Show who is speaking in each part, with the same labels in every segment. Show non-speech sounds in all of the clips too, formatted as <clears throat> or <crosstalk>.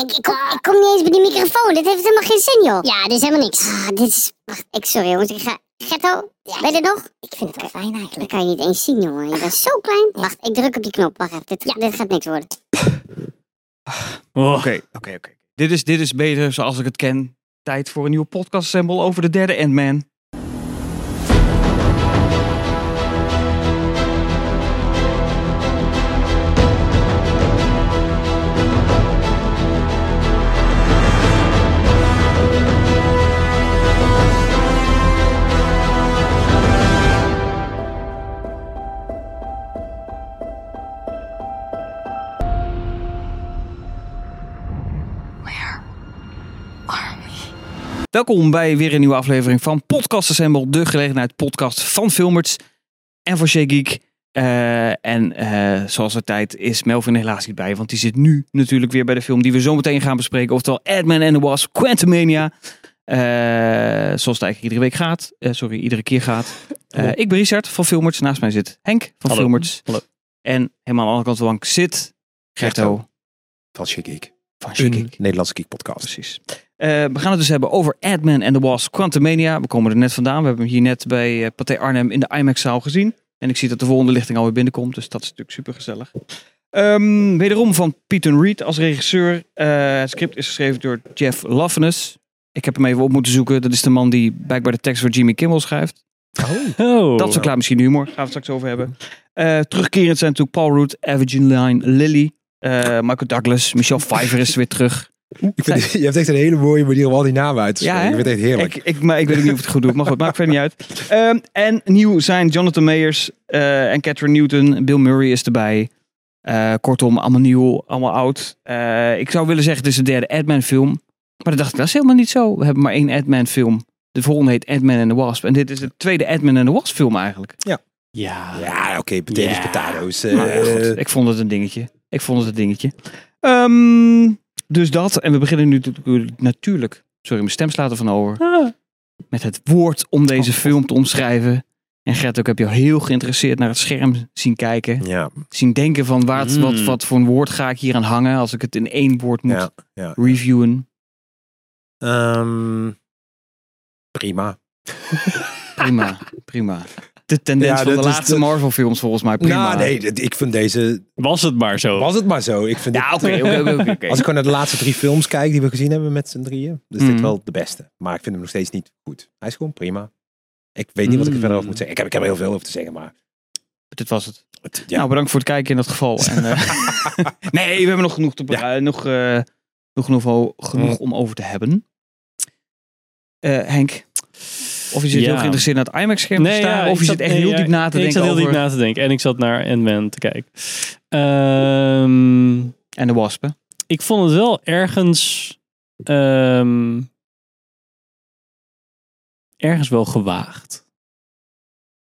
Speaker 1: ik, ik, kom, ik kom niet eens bij die microfoon. Dit heeft helemaal geen zin, joh.
Speaker 2: Ja, dit is helemaal niks.
Speaker 1: Ah, dit is... Wacht, ik, sorry jongens. Ik ga... Gerto,
Speaker 2: Ja,
Speaker 1: ben je er nog?
Speaker 2: ik vind het wel fijn
Speaker 1: Dat
Speaker 2: eigenlijk.
Speaker 1: kan je niet eens zien, jongen. Je bent zo klein. Wacht, ik druk op die knop. Wacht even. Dit,
Speaker 2: Ja.
Speaker 1: dit gaat niks worden.
Speaker 3: Oh.
Speaker 4: Oké, oké, oké. Dit is, dit is beter zoals ik het ken. Tijd voor een nieuwe podcast assemble over de derde Ant-Man. Welkom bij weer een nieuwe aflevering van Podcast Assemble, de gelegenheid podcast van Filmerts en voor Shea Geek. Eh, en eh, zoals altijd is Melvin helaas niet bij, want die zit nu natuurlijk weer bij de film die we zo meteen gaan bespreken. Oftewel Ant-Man and the Wasp, Quantumania. Eh, zoals het eigenlijk iedere week gaat. Eh, sorry, iedere keer gaat. Eh, ik ben Richard van Filmerts. Naast mij zit Henk van
Speaker 3: Hallo.
Speaker 4: Filmerts.
Speaker 3: Hallo.
Speaker 4: En helemaal aan de andere kant van de bank zit Gerto
Speaker 5: van Chic Geek.
Speaker 4: van Shea
Speaker 3: Een
Speaker 4: Geek.
Speaker 5: Nederlandse Geek Podcast.
Speaker 4: Precies. Eh, we gaan het dus hebben over Adman and the Wasp Quantumania. We komen er net vandaan. We hebben hem hier net bij eh, Pathé Arnhem in de IMAX-zaal gezien. En ik zie dat de volgende lichting alweer binnenkomt. Dus dat is natuurlijk super gezellig. wederom van Peyton Reed als regisseur. Eh, het script is geschreven door Jeff Loveness. Ik heb hem even op moeten zoeken. Dat is de man die blijkbaar de tekst voor Jimmy Kimmel schrijft.
Speaker 3: Oh.
Speaker 4: <laughs> Dat verklaart misschien de humor. Gaan we het straks over hebben. Eh, terugkerend zijn natuurlijk Paul Root, Evangeline Lilly, eh, Michael Douglas, Michelle Pfeiffer is weer terug.
Speaker 5: Ik vind, je hebt echt een hele mooie manier om al die namen uit te
Speaker 4: Ja,
Speaker 5: spreken.
Speaker 4: hè?
Speaker 5: ik vind het echt heerlijk.
Speaker 4: Ik, ik, maar ik weet ook niet of ik het goed doe, maar goed, maakt verder niet
Speaker 5: <laughs>
Speaker 4: uit. Ehm, en nieuw zijn Jonathan Mayers eh, en Catherine Newton. Bill Murray is erbij. Eh, kortom, allemaal nieuw, allemaal oud. Eh, ik zou willen zeggen, het is de derde Ant-Man film. Maar dat dacht ik, dat is helemaal niet zo. We hebben maar één Ant-Man film. De volgende heet Ant-Man and the Wasp. En dit is de tweede Ant-Man and the Wasp film eigenlijk.
Speaker 3: Ja.
Speaker 5: Ja, oké, potatoes,
Speaker 3: Ja.
Speaker 5: potatoes. eh,
Speaker 4: Maar ja, goed, Oh, ik vond het een dingetje. Ik vond het een dingetje. Ehm, dus dat. En we beginnen nu natuurlijk- natuurlijk. Sorry, mijn stem slaat er van over.
Speaker 5: Ah.
Speaker 4: Met het woord om
Speaker 5: Oh.
Speaker 4: deze film te omschrijven. En Gert, ook heb je heel geïnteresseerd naar het scherm zien kijken.
Speaker 5: ja,
Speaker 4: Zien denken van wat,
Speaker 3: Mm.
Speaker 4: wat, wat voor een woord ga ik hier aan hangen als ik het in één woord moet
Speaker 5: ja, ja.
Speaker 4: reviewen.
Speaker 5: Ehm, prima.
Speaker 4: Prima, <laughs> prima. De tendens
Speaker 5: Ja,
Speaker 4: van de
Speaker 5: dat is
Speaker 4: laatste
Speaker 5: de-
Speaker 4: Marvel films volgens mij. Prima.
Speaker 5: Nou, nee, dit- ik vind deze...
Speaker 3: Was het maar zo.
Speaker 5: Was het maar zo. Ik vind
Speaker 4: Ja,
Speaker 5: dit-
Speaker 4: oké, oké, oké, oké, oké.
Speaker 5: <laughs> Als ik gewoon naar de laatste drie films kijk die we gezien hebben met z'n drieën, dan is dit
Speaker 4: Mhm.
Speaker 5: wel de beste. Maar ik vind hem nog steeds niet goed. Hij is gewoon prima. Ik weet niet wat ik er verder over moet zeggen. Ik heb, ik heb er heel veel over te zeggen, maar...
Speaker 4: Dit was het.
Speaker 5: het- ja.
Speaker 4: Nou, bedankt voor het kijken in dat
Speaker 3: <laughs>
Speaker 4: geval. En, eh, <laughs> nee, we hebben nog genoeg, te pra- eh, nog, eh, nog genoeg, o- genoeg om over te hebben. Eh, Henk, of je zit
Speaker 3: Ja.
Speaker 4: heel geïnteresseerd naar het IMAX-scherm te staan,
Speaker 3: ik
Speaker 4: of je
Speaker 3: zat-
Speaker 4: zit echt
Speaker 3: nee,
Speaker 4: heel
Speaker 3: ja,
Speaker 4: diep na te
Speaker 3: Ik
Speaker 4: denken
Speaker 3: zat heel
Speaker 4: over...
Speaker 3: diep na te denken. En ik zat naar Ant-Man te kijken. Ehm,
Speaker 4: En de waspen.
Speaker 3: ik vond het wel ergens... ehm, ergens wel gewaagd.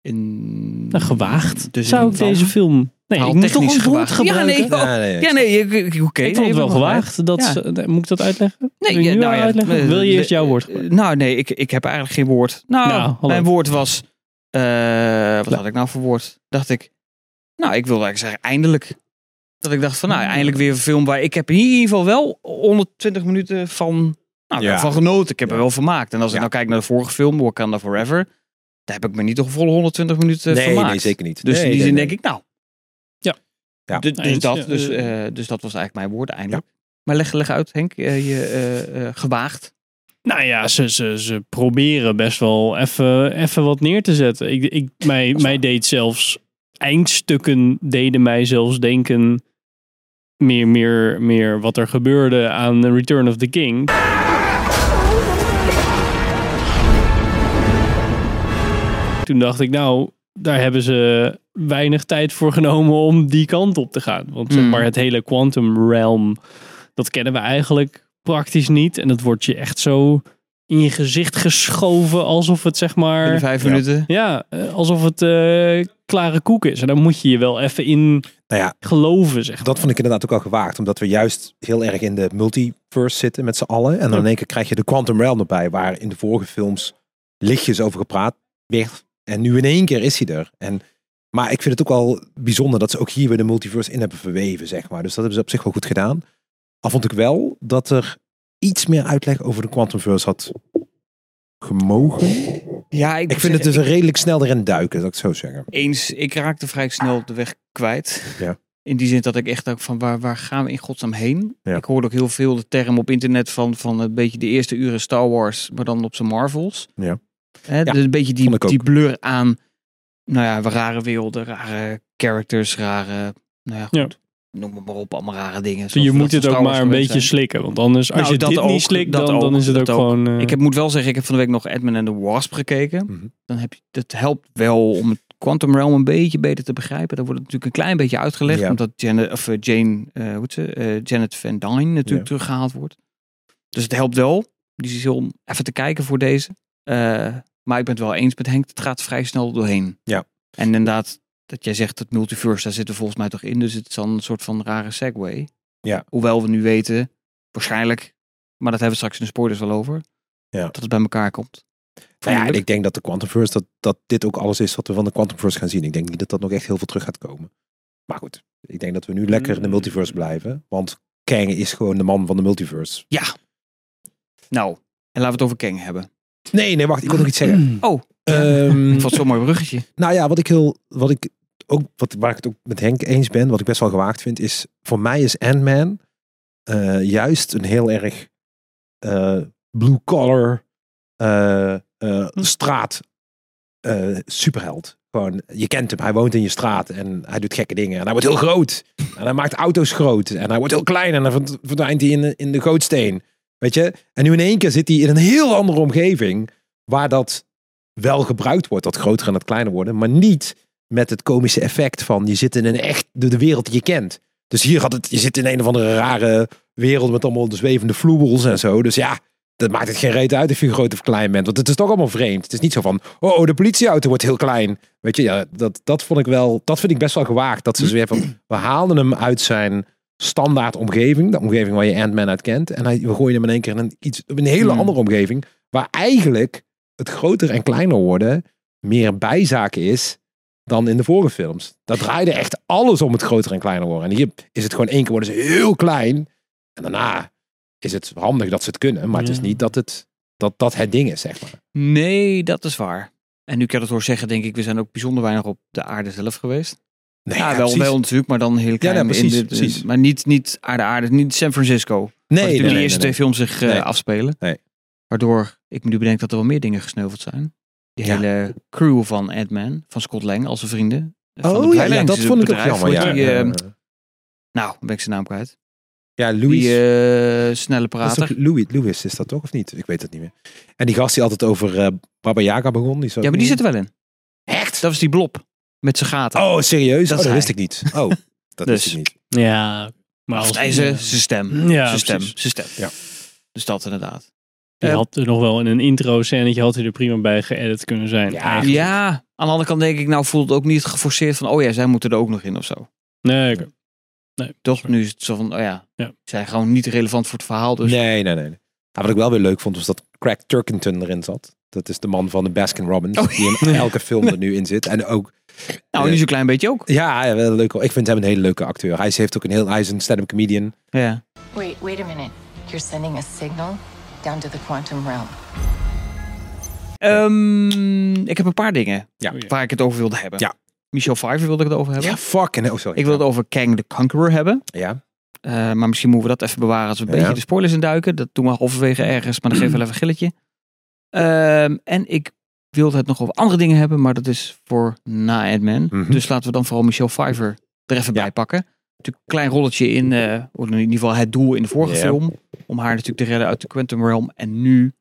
Speaker 4: In...
Speaker 3: Nou, gewaagd.
Speaker 4: Dus
Speaker 3: Zou
Speaker 4: in
Speaker 3: ik
Speaker 4: van-
Speaker 3: deze film... Nee, ik moet toch een
Speaker 4: Taaltechnisch
Speaker 3: woord
Speaker 4: gewaagd. Ja, nee,
Speaker 3: gebruiken.
Speaker 5: Ja, nee,
Speaker 4: Ja, nee, ik- ik- oké.
Speaker 3: ik vond het wel
Speaker 4: nee,
Speaker 3: gewaagd. Dat,
Speaker 4: Ja.
Speaker 3: ze- nee, moet ik dat uitleggen?
Speaker 4: Nee,
Speaker 3: Wil je
Speaker 4: ja,
Speaker 3: nu
Speaker 4: nou
Speaker 3: al
Speaker 4: ja,
Speaker 3: uitleggen?
Speaker 4: eh,
Speaker 3: Wil je eerst
Speaker 4: de-
Speaker 3: jouw woord
Speaker 4: eh, Nou, nee, ik, ik heb eigenlijk geen woord. Nou,
Speaker 3: Nou, hallo.
Speaker 4: mijn woord was... eh, wat
Speaker 3: Nou.
Speaker 4: had ik nou voor woord? Dacht ik... Nou, ik wilde eigenlijk zeggen eindelijk. Dat ik dacht van,
Speaker 3: Hmm.
Speaker 4: nou, eindelijk weer een film waar... Ik heb in ieder geval wel 120 minuten van... Nou,
Speaker 5: Ja.
Speaker 4: van genoten. Ik heb er wel van gemaakt. En als ik
Speaker 5: Ja.
Speaker 4: nou kijk naar de vorige film, Wakanda Forever... Daar heb ik me niet toch volle 120 minuten van
Speaker 5: nee,
Speaker 4: gemaakt.
Speaker 5: nee, zeker niet.
Speaker 4: Dus
Speaker 5: Nee,
Speaker 4: in die
Speaker 5: nee,
Speaker 4: zin
Speaker 5: nee.
Speaker 4: denk ik, nou...
Speaker 3: Ja.
Speaker 5: Ja.
Speaker 4: Dus, dus
Speaker 3: Eens,
Speaker 4: dat,
Speaker 3: ja,
Speaker 4: dus,
Speaker 3: eh,
Speaker 4: eh, dus dat was eigenlijk mijn woord eindelijk. Maar leg, leg uit, Henk, eh, je eh, eh, gewaagd.
Speaker 3: Nou ja, ze, ze, ze proberen best wel even even wat neer te zetten. Ik, ik, mij, mij deed zelfs eindstukken deden mij zelfs denken meer, meer, meer wat er gebeurde aan The Return of the King. Toen dacht ik, nou, daar hebben ze weinig tijd voor genomen om die kant op te gaan. Want zeg
Speaker 4: Mm.
Speaker 3: maar het hele quantum realm, dat kennen we eigenlijk praktisch niet. En dat wordt je echt zo in je gezicht geschoven alsof het zeg maar...
Speaker 4: Binnen vijf
Speaker 5: Ja.
Speaker 4: minuten.
Speaker 3: Ja, eh, alsof het eh, klare koek is. En daar moet je je wel even in
Speaker 5: Nou ja,
Speaker 3: geloven, zeg maar.
Speaker 5: Dat vond ik inderdaad ook al gewaagd, omdat we juist heel erg in de multiverse zitten met z'n allen. En dan in één keer krijg je de Quantum Realm erbij, waar in de vorige films lichtjes over gepraat werd. En nu in één keer is hij er. En, maar ik vind het ook wel bijzonder dat ze ook hier weer de multiverse in hebben verweven, zeg maar. Dus dat hebben ze op zich wel goed gedaan. Al vond ik wel dat er iets meer uitleg over de Quantumverse had gemogen.
Speaker 4: Ja,
Speaker 5: Ik vind het dus een redelijk snel erin duiken, dat ik het zo zeggen.
Speaker 4: eens. Ik raakte vrij snel de weg kwijt.
Speaker 5: Ja.
Speaker 4: In die zin dat ik echt ook van waar, waar gaan we in godsnaam heen?
Speaker 5: Ja.
Speaker 4: Ik hoorde ook heel veel de term op internet van, van een beetje de eerste uren Star Wars, maar dan op zijn Marvels.
Speaker 5: Ja.
Speaker 4: Hè, dus een beetje die,
Speaker 5: vond ik ook.
Speaker 4: die blur aan, nou ja, rare werelden, rare characters, rare, nou ja,
Speaker 3: Ja.
Speaker 4: goed. Noem het maar op, allemaal rare dingen.
Speaker 3: Dus je
Speaker 4: zoals dat
Speaker 3: moet het
Speaker 4: van
Speaker 3: ook
Speaker 4: Star
Speaker 3: maar
Speaker 4: Wars
Speaker 3: een
Speaker 4: geweest
Speaker 3: beetje
Speaker 4: zijn.
Speaker 3: slikken. Want anders, als
Speaker 4: Nou,
Speaker 3: je
Speaker 4: dat
Speaker 3: dit
Speaker 4: ook,
Speaker 3: niet slikt,
Speaker 4: dat
Speaker 3: dan, dan
Speaker 4: ook,
Speaker 3: is het ook,
Speaker 4: dat ook.
Speaker 3: gewoon... eh,
Speaker 4: Ik heb, moet wel zeggen, ik heb van de week nog Edmund en de Wasp gekeken.
Speaker 5: Mhm.
Speaker 4: Dan heb je, dat helpt wel om het Quantum Realm een beetje beter te begrijpen. Daar wordt het natuurlijk een klein beetje uitgelegd.
Speaker 5: Ja.
Speaker 4: Omdat Janet, of eh, Jane, eh, hoe heet ze, Eh, Janet Van Dyne natuurlijk
Speaker 5: Ja.
Speaker 4: teruggehaald wordt. Dus het helpt wel. Dus is heel om even te kijken voor deze. Eh, maar ik ben het wel eens met Henk. Het gaat vrij snel doorheen.
Speaker 5: Ja.
Speaker 4: En inderdaad, dat jij zegt dat multiverse, daar zitten volgens mij toch in. Dus het is dan een soort van rare segue.
Speaker 5: Ja.
Speaker 4: Hoewel we nu weten, waarschijnlijk, maar dat hebben we straks in de spoilers wel over.
Speaker 5: Ja.
Speaker 4: Dat het bij elkaar komt.
Speaker 5: Nou ja, en
Speaker 4: Vermoedelijk.
Speaker 5: ik denk dat de Quantumverse, dat, dat dit ook alles is wat we van de Quantumverse gaan zien. Ik denk niet dat dat nog echt heel veel terug gaat komen. Maar goed, ik denk dat we nu lekker in de multiverse blijven. Want Kang is gewoon de man van de multiverse.
Speaker 4: Nou, en laten we het over Kang
Speaker 5: <laughs>
Speaker 4: hebben.
Speaker 5: Nee, nee, wacht, ik wil nog iets zeggen.
Speaker 4: Oh, <clears throat>
Speaker 5: Ehm,
Speaker 4: ik vond zo'n mooi bruggetje.
Speaker 5: nou ja, wat ik heel, wat ik ook, wat, waar ik het ook met Henk eens ben, wat ik best wel gewaagd vind, is voor mij is Ant-Man eh, juist een heel erg eh, blue-collar eh, eh, straat eh, superheld. Gewoon, je kent hem, hij woont in je straat en hij doet gekke dingen. En hij wordt heel groot. En hij maakt auto's groot. En hij wordt heel klein en dan verd- verdwijnt hij in, de- in de gootsteen. Weet je? En nu in één keer zit hij in een heel andere omgeving waar dat wel gebruikt wordt, dat groter en dat kleiner worden, maar niet met het komische effect van je zit in een echt de, de wereld die je kent. Dus hier had het, je zit in een of andere rare wereld met allemaal de zwevende vloebels en zo. Dus ja, dat maakt het geen reet uit of je groot of klein bent, want het is toch allemaal vreemd. Het is niet zo van, oh, oh, de politieauto wordt heel klein. Weet je, ja, dat, dat vond ik wel, dat vind ik best wel gewaagd. Dat ze zo weer van, we haalden hem uit zijn standaard omgeving, de omgeving waar je Ant-Man uit kent, en hij, we gooien hem in één keer in een, iets, een hele
Speaker 4: Hmm.
Speaker 5: andere omgeving, waar eigenlijk het groter en kleiner worden meer bijzaak is dan in de vorige films. Dat draaide echt alles om het groter en kleiner worden. En hier is het gewoon één keer worden ze heel klein. En daarna is het handig dat ze het kunnen. Maar het is
Speaker 3: Ja.
Speaker 5: niet dat het, dat, dat het ding is, zeg maar.
Speaker 4: Nee, dat is waar. En nu ik dat hoor zeggen, denk ik, we zijn ook bijzonder weinig op de aarde zelf geweest.
Speaker 5: Nee,
Speaker 4: Ja, wel, wel natuurlijk, maar dan heel klein.
Speaker 5: nee,
Speaker 4: in
Speaker 5: precies,
Speaker 4: de- de-
Speaker 5: precies.
Speaker 4: Maar niet, niet aarde-aarde, niet San Francisco. waar
Speaker 5: Nee,
Speaker 4: natuurlijk
Speaker 5: nee,
Speaker 4: die
Speaker 5: nee,
Speaker 4: eerste
Speaker 5: nee,
Speaker 4: twee films zich eh,
Speaker 5: Nee.
Speaker 4: afspelen.
Speaker 5: Nee.
Speaker 4: Waardoor ik me nu bedenk dat er wel meer dingen gesneuveld zijn. Die
Speaker 5: Ja.
Speaker 4: hele crew van Ant-Man, van Scott Lang, als zijn vrienden.
Speaker 5: nee.
Speaker 4: van Dus
Speaker 5: Oh
Speaker 4: het
Speaker 5: ja, ja, dat
Speaker 4: Bedrijf-
Speaker 5: vond ik ook
Speaker 4: bedrijf,
Speaker 5: jammer.
Speaker 4: hoe
Speaker 5: Ja,
Speaker 4: heet die,
Speaker 5: Eh,
Speaker 4: eh, nou, ben ik zijn naam kwijt.
Speaker 5: ja Louis,
Speaker 4: Die eh, snelle
Speaker 5: dat is
Speaker 4: prater.
Speaker 5: toch Louis, Louis is dat toch, of niet? Ik weet het niet meer. En die gast die altijd over eh Baba Yaga begon. Die zat
Speaker 4: Ja, maar die
Speaker 5: niet-
Speaker 4: zit er wel in.
Speaker 5: Echt?
Speaker 4: Dat was die blob. Met zijn gaten.
Speaker 5: Oh, serieus?
Speaker 4: Dat
Speaker 5: Dat, oh,
Speaker 4: is
Speaker 5: dat
Speaker 4: hij.
Speaker 5: wist ik niet. Oh, dat
Speaker 4: Dus.
Speaker 5: wist ik niet.
Speaker 3: ja, maar
Speaker 4: Of
Speaker 3: als,
Speaker 4: nee, zijn zijn stem.
Speaker 3: Ja,
Speaker 4: zijn stem.
Speaker 3: precies.
Speaker 4: Zijn stem.
Speaker 5: Ja.
Speaker 4: Dus dat inderdaad.
Speaker 3: Je
Speaker 4: Eh,
Speaker 3: had er nog wel in een intro scènetje had hij er prima bij geëdit kunnen zijn.
Speaker 5: Ja.
Speaker 3: eigenlijk.
Speaker 4: Ja, aan de andere kant denk ik, nou voelt het ook niet geforceerd van, oh ja, zij moeten er ook nog in of zo.
Speaker 3: Nee, oké. nee.
Speaker 4: Toch?
Speaker 3: sorry.
Speaker 4: Nu is het zo van, oh ja,
Speaker 3: Ja.
Speaker 4: zij zijn gewoon niet relevant voor het verhaal. Dus
Speaker 5: Nee, nee, nee. Maar wat ik wel weer leuk vond, was dat Craig Turkington erin zat. Dat is de man van de Baskin Robbins,
Speaker 4: Oh,
Speaker 5: die
Speaker 4: <laughs>
Speaker 5: in elke film er nu in zit. En ook,
Speaker 4: nou, nu zo'n klein beetje ook.
Speaker 5: ja, ja, wel leuk. Ik vind hem een hele leuke acteur. Hij is- heeft ook een heel, hij is een stand-up comedian.
Speaker 4: Ja.
Speaker 2: Wait, wait a minute. You're sending a signal down to the quantum realm.
Speaker 4: Ehm, ik heb een paar dingen
Speaker 5: Ja.
Speaker 4: waar ik het over wilde hebben.
Speaker 5: Ja.
Speaker 4: Michel Pfeiffer wilde ik het over hebben.
Speaker 5: Ja, fuck. En, oh, sorry.
Speaker 4: Ik wilde het over Kang the Conqueror hebben.
Speaker 5: Ja,
Speaker 4: Eh, maar misschien moeten we dat even bewaren als we een
Speaker 5: Ja.
Speaker 4: beetje de spoilers induiken. Dat doen we halverwege ergens, maar dan geven we wel even een gilletje. Ehm, en ik wilde het nog over andere dingen hebben, maar dat is voor na Ant-Man.
Speaker 5: Mhm.
Speaker 4: Dus laten we dan vooral Michelle Pfeiffer er even
Speaker 5: Ja.
Speaker 4: bij pakken. Natuurlijk een klein rolletje in, eh, of in ieder geval het doel in de vorige
Speaker 5: Ja.
Speaker 4: film. Om haar natuurlijk te redden uit de Quantum Realm. En nu,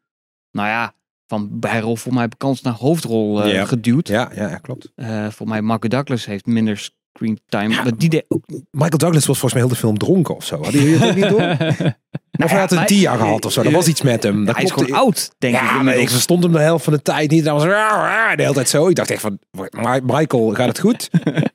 Speaker 4: nou ja, van bijrol voor mij bekend naar hoofdrol eh,
Speaker 5: Ja.
Speaker 4: geduwd.
Speaker 5: ja, ja, ja, klopt.
Speaker 4: Eh, voor mij Michael Douglas heeft minder screen time. maar die deed ook
Speaker 5: Michael Douglas was volgens mij heel de film dronken of zo. Hadden jullie dat ook
Speaker 4: <laughs>
Speaker 5: niet door? of hij had een
Speaker 4: maar-
Speaker 5: dia gehad of zo. Er was iets met hem. Dat
Speaker 4: hij is
Speaker 5: klopte-
Speaker 4: gewoon oud, denk ik.
Speaker 5: Ja, maar ik
Speaker 4: inmiddels.
Speaker 5: verstond hem de helft van de tijd niet. En Hij was raar, raar, de hele tijd zo. Ik dacht echt van, Ma- Michael, gaat het
Speaker 4: <laughs>
Speaker 5: goed?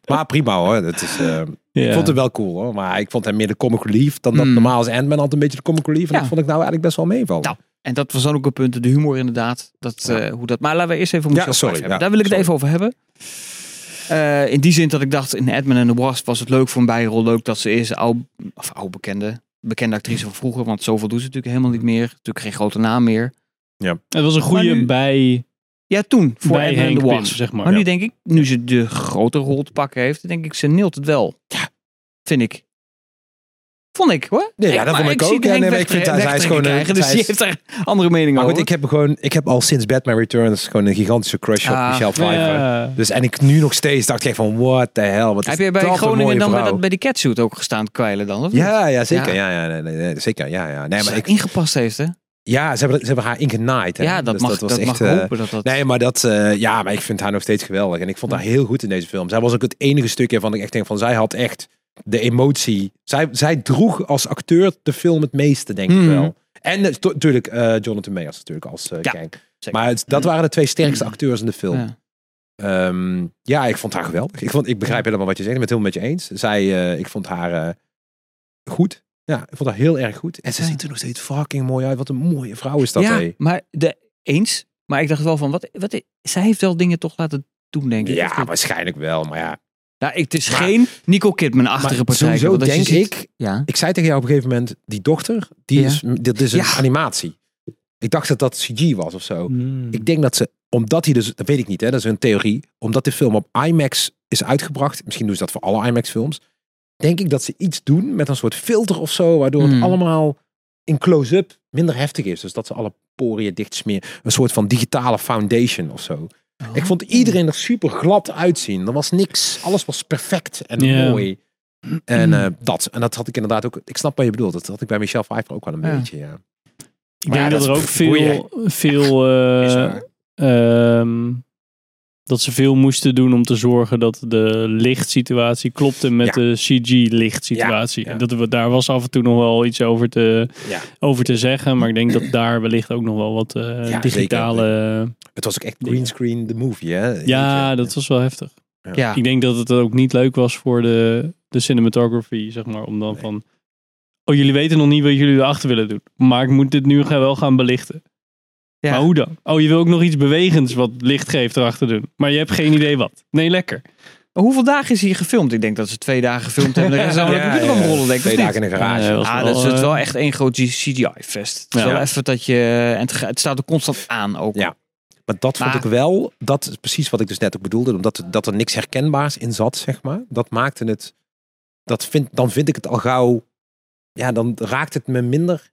Speaker 5: maar prima hoor. Dat is, eh,
Speaker 3: Ja.
Speaker 5: Ik vond hem wel cool hoor, maar ik vond hem meer de comic relief dan dat
Speaker 4: Hmm.
Speaker 5: normaal is Ant-Man altijd een beetje de comic relief. En
Speaker 4: Ja.
Speaker 5: dat vond ik nou eigenlijk best wel meevallen.
Speaker 4: Nou, En dat was dan ook een punt, de humor inderdaad. Dat,
Speaker 5: Ja.
Speaker 4: eh, hoe dat, maar laten we eerst even over
Speaker 5: Ja,
Speaker 4: Michelle
Speaker 5: sorry,
Speaker 4: Pfeiffer hebben.
Speaker 5: ja,
Speaker 4: Daar wil ik
Speaker 5: sorry.
Speaker 4: het even over hebben. Eh, in die zin dat ik dacht, in Edmund en de Wasp was het leuk voor een bijrol. Leuk dat ze is, oude, of oude bekende, bekende actrice van vroeger, want zoveel doet ze natuurlijk helemaal niet meer. Natuurlijk geen grote naam meer.
Speaker 3: Het was een
Speaker 4: Maar
Speaker 3: goede
Speaker 4: nu-
Speaker 3: bij,
Speaker 4: Ja, toen, voor
Speaker 3: bij
Speaker 4: Ant-Man and
Speaker 3: Henk
Speaker 4: the Wasp.
Speaker 3: Pits, zeg maar.
Speaker 4: Maar nu
Speaker 3: Ja.
Speaker 4: denk ik, nu ze de grote rol te pakken heeft, denk ik, ze neelt het wel. Ja. Vind ik. Vond ik, hoor.
Speaker 5: Nee, ja, dat
Speaker 4: maar
Speaker 5: vond ik
Speaker 4: zie
Speaker 5: ook.
Speaker 4: de
Speaker 5: Ja,
Speaker 4: Henk
Speaker 5: nee, maar ik vind
Speaker 4: wegtre-
Speaker 5: dat zij is
Speaker 4: wegtrekken
Speaker 5: gewoon een-
Speaker 4: krijgen, Dus
Speaker 5: zij
Speaker 4: die
Speaker 5: is-
Speaker 4: heeft daar andere mening
Speaker 5: Maar
Speaker 4: over.
Speaker 5: goed, ik heb, gewoon, ik heb al sinds Batman Returns gewoon een gigantische crush op
Speaker 4: Ah.
Speaker 5: Michelle Pfeiffer.
Speaker 3: Ja.
Speaker 5: Dus en ik nu nog steeds dacht ik van, what the hell. Wat is
Speaker 4: Heb je
Speaker 5: dat
Speaker 4: bij
Speaker 5: een mooie
Speaker 4: Groningen dan bij,
Speaker 5: vrouw.
Speaker 4: dat, bij die catsuit ook gestaan kwijlen dan? Of niet?
Speaker 5: Ja, ja, zeker. Ja, ja, nee, nee, nee, zeker. Ja, ja. Nee,
Speaker 4: Als ze
Speaker 5: maar ik,
Speaker 4: ingepast heeft, hè?
Speaker 5: ja ze, hebben, ze hebben haar ingenaaid. Hè?
Speaker 4: Ja, dat
Speaker 5: Dus
Speaker 4: mag,
Speaker 5: was
Speaker 4: dat
Speaker 5: echt,
Speaker 4: mag
Speaker 5: eh,
Speaker 4: hopen dat dat...
Speaker 5: Nee, maar dat, eh, ja, maar ik vind haar nog steeds geweldig. En ik vond haar heel goed in deze film. Zij was ook het enige stukje waarvan ik echt denk van, zij had echt de emotie. Zij, zij droeg als acteur de film het meeste, denk
Speaker 4: Mhm.
Speaker 5: ik wel. En eh, natuurlijk Jonathan Mayers natuurlijk als eh
Speaker 4: Ja,
Speaker 5: Kang.
Speaker 4: zeker. Hmm.
Speaker 5: Maar het- dat waren de twee sterkste acteurs in de film.
Speaker 4: Ja.
Speaker 5: Ehm, ja, ik vond haar geweldig. Ik, vond, ik begrijp helemaal wat je zegt. Ik ben het helemaal met je eens. Zij, eh, ik vond haar eh, goed. Ja, ik vond haar heel erg goed. En ze
Speaker 4: Ja.
Speaker 5: ziet er nog steeds fucking mooi uit. Wat een mooie vrouw is dat,
Speaker 4: ja,
Speaker 5: hé.
Speaker 4: maar de, eens. Maar ik dacht wel van, wat, wat, zij heeft wel dingen toch laten doen, denk ik. of
Speaker 5: Ja,
Speaker 4: niet?
Speaker 5: waarschijnlijk wel. Maar ja,
Speaker 4: Nou, ik- het is
Speaker 5: Maar-
Speaker 4: geen Nico Kidman-achtige
Speaker 5: maar
Speaker 4: partij.
Speaker 5: sowieso
Speaker 4: want als je
Speaker 5: denk
Speaker 4: ziet-
Speaker 5: ik...
Speaker 4: Ja.
Speaker 5: Ik zei tegen jou op een gegeven moment, die dochter, die
Speaker 4: Ja.
Speaker 5: is, dit is een
Speaker 4: Ja.
Speaker 5: animatie. Ik dacht dat dat CG was of zo.
Speaker 3: Hmm.
Speaker 5: Ik denk dat ze, omdat hij dus, dat weet ik niet, hè, dat is een theorie, omdat de film op IMAX is uitgebracht, misschien doen ze dat voor alle IMAX-films, denk ik dat ze iets doen met een soort filter of zo, waardoor
Speaker 4: Hmm.
Speaker 5: het allemaal in close-up minder heftig is. Dus dat ze alle poriën dicht smeren. Een soort van digitale foundation of zo. Ik vond
Speaker 3: Oh.
Speaker 5: iedereen er super glad uitzien. Er was niks. Alles was perfect en
Speaker 3: Ja.
Speaker 5: mooi. En
Speaker 3: <clears throat>
Speaker 5: eh, dat. En dat had ik inderdaad ook. Ik snap wat je bedoelt. Dat had ik bij Michelle Pfeiffer ook wel een
Speaker 4: Ja.
Speaker 5: beetje. Ja.
Speaker 3: Ik
Speaker 5: Maar
Speaker 3: denk
Speaker 5: ja,
Speaker 3: dat er
Speaker 5: dat
Speaker 3: ook
Speaker 5: is boeien.
Speaker 3: veel,
Speaker 5: <laughs>
Speaker 3: veel
Speaker 4: Is
Speaker 3: eh,
Speaker 4: waar.
Speaker 3: ehm, dat ze veel moesten doen om te zorgen dat de lichtsituatie klopte met
Speaker 5: Ja.
Speaker 3: de CG-lichtsituatie.
Speaker 5: Ja, ja.
Speaker 3: En dat we, daar was af en toe nog wel iets over te,
Speaker 5: Ja.
Speaker 3: over te zeggen, maar ik denk dat daar wellicht ook nog wel wat eh,
Speaker 5: zeker.
Speaker 3: digitale...
Speaker 5: Het was ook echt greenscreen the movie. Hè? eh,
Speaker 3: ja, dat was wel heftig.
Speaker 4: Ja.
Speaker 3: Ik denk dat het ook niet leuk was voor de, de cinematography, zeg maar, om dan
Speaker 5: Nee.
Speaker 3: van... Oh, jullie weten nog niet wat jullie erachter willen doen, maar ik moet dit nu gaan- wel gaan belichten.
Speaker 4: Ja.
Speaker 3: Maar hoe dan? Oh, je wil ook nog iets bewegends wat licht geeft erachter doen. Maar je hebt geen idee wat. Nee, lekker.
Speaker 4: Maar Hoeveel dagen is hier gefilmd? Ik denk dat ze twee dagen gefilmd hebben.
Speaker 5: <laughs>
Speaker 4: Dan gaan ze
Speaker 5: Ja,
Speaker 4: allemaal
Speaker 5: ja,
Speaker 4: de computer omrollen, denk ik.
Speaker 5: Twee
Speaker 4: of niet?
Speaker 5: dagen in een garage.
Speaker 3: Nee, dat was
Speaker 4: Ah,
Speaker 3: wel,
Speaker 4: dat is het
Speaker 3: eh,
Speaker 4: wel echt één groot CGI-fest. Het is
Speaker 3: Ja.
Speaker 4: wel even dat je... En het, ga- het staat er constant aan ook.
Speaker 5: Ja. Maar dat vond
Speaker 4: Maar-
Speaker 5: ik wel, dat is precies wat ik dus net ook bedoelde, omdat dat er niks herkenbaars in zat, zeg maar. Dat maakte het, dat vind, dan vind ik het al gauw, ja, dan raakt het me minder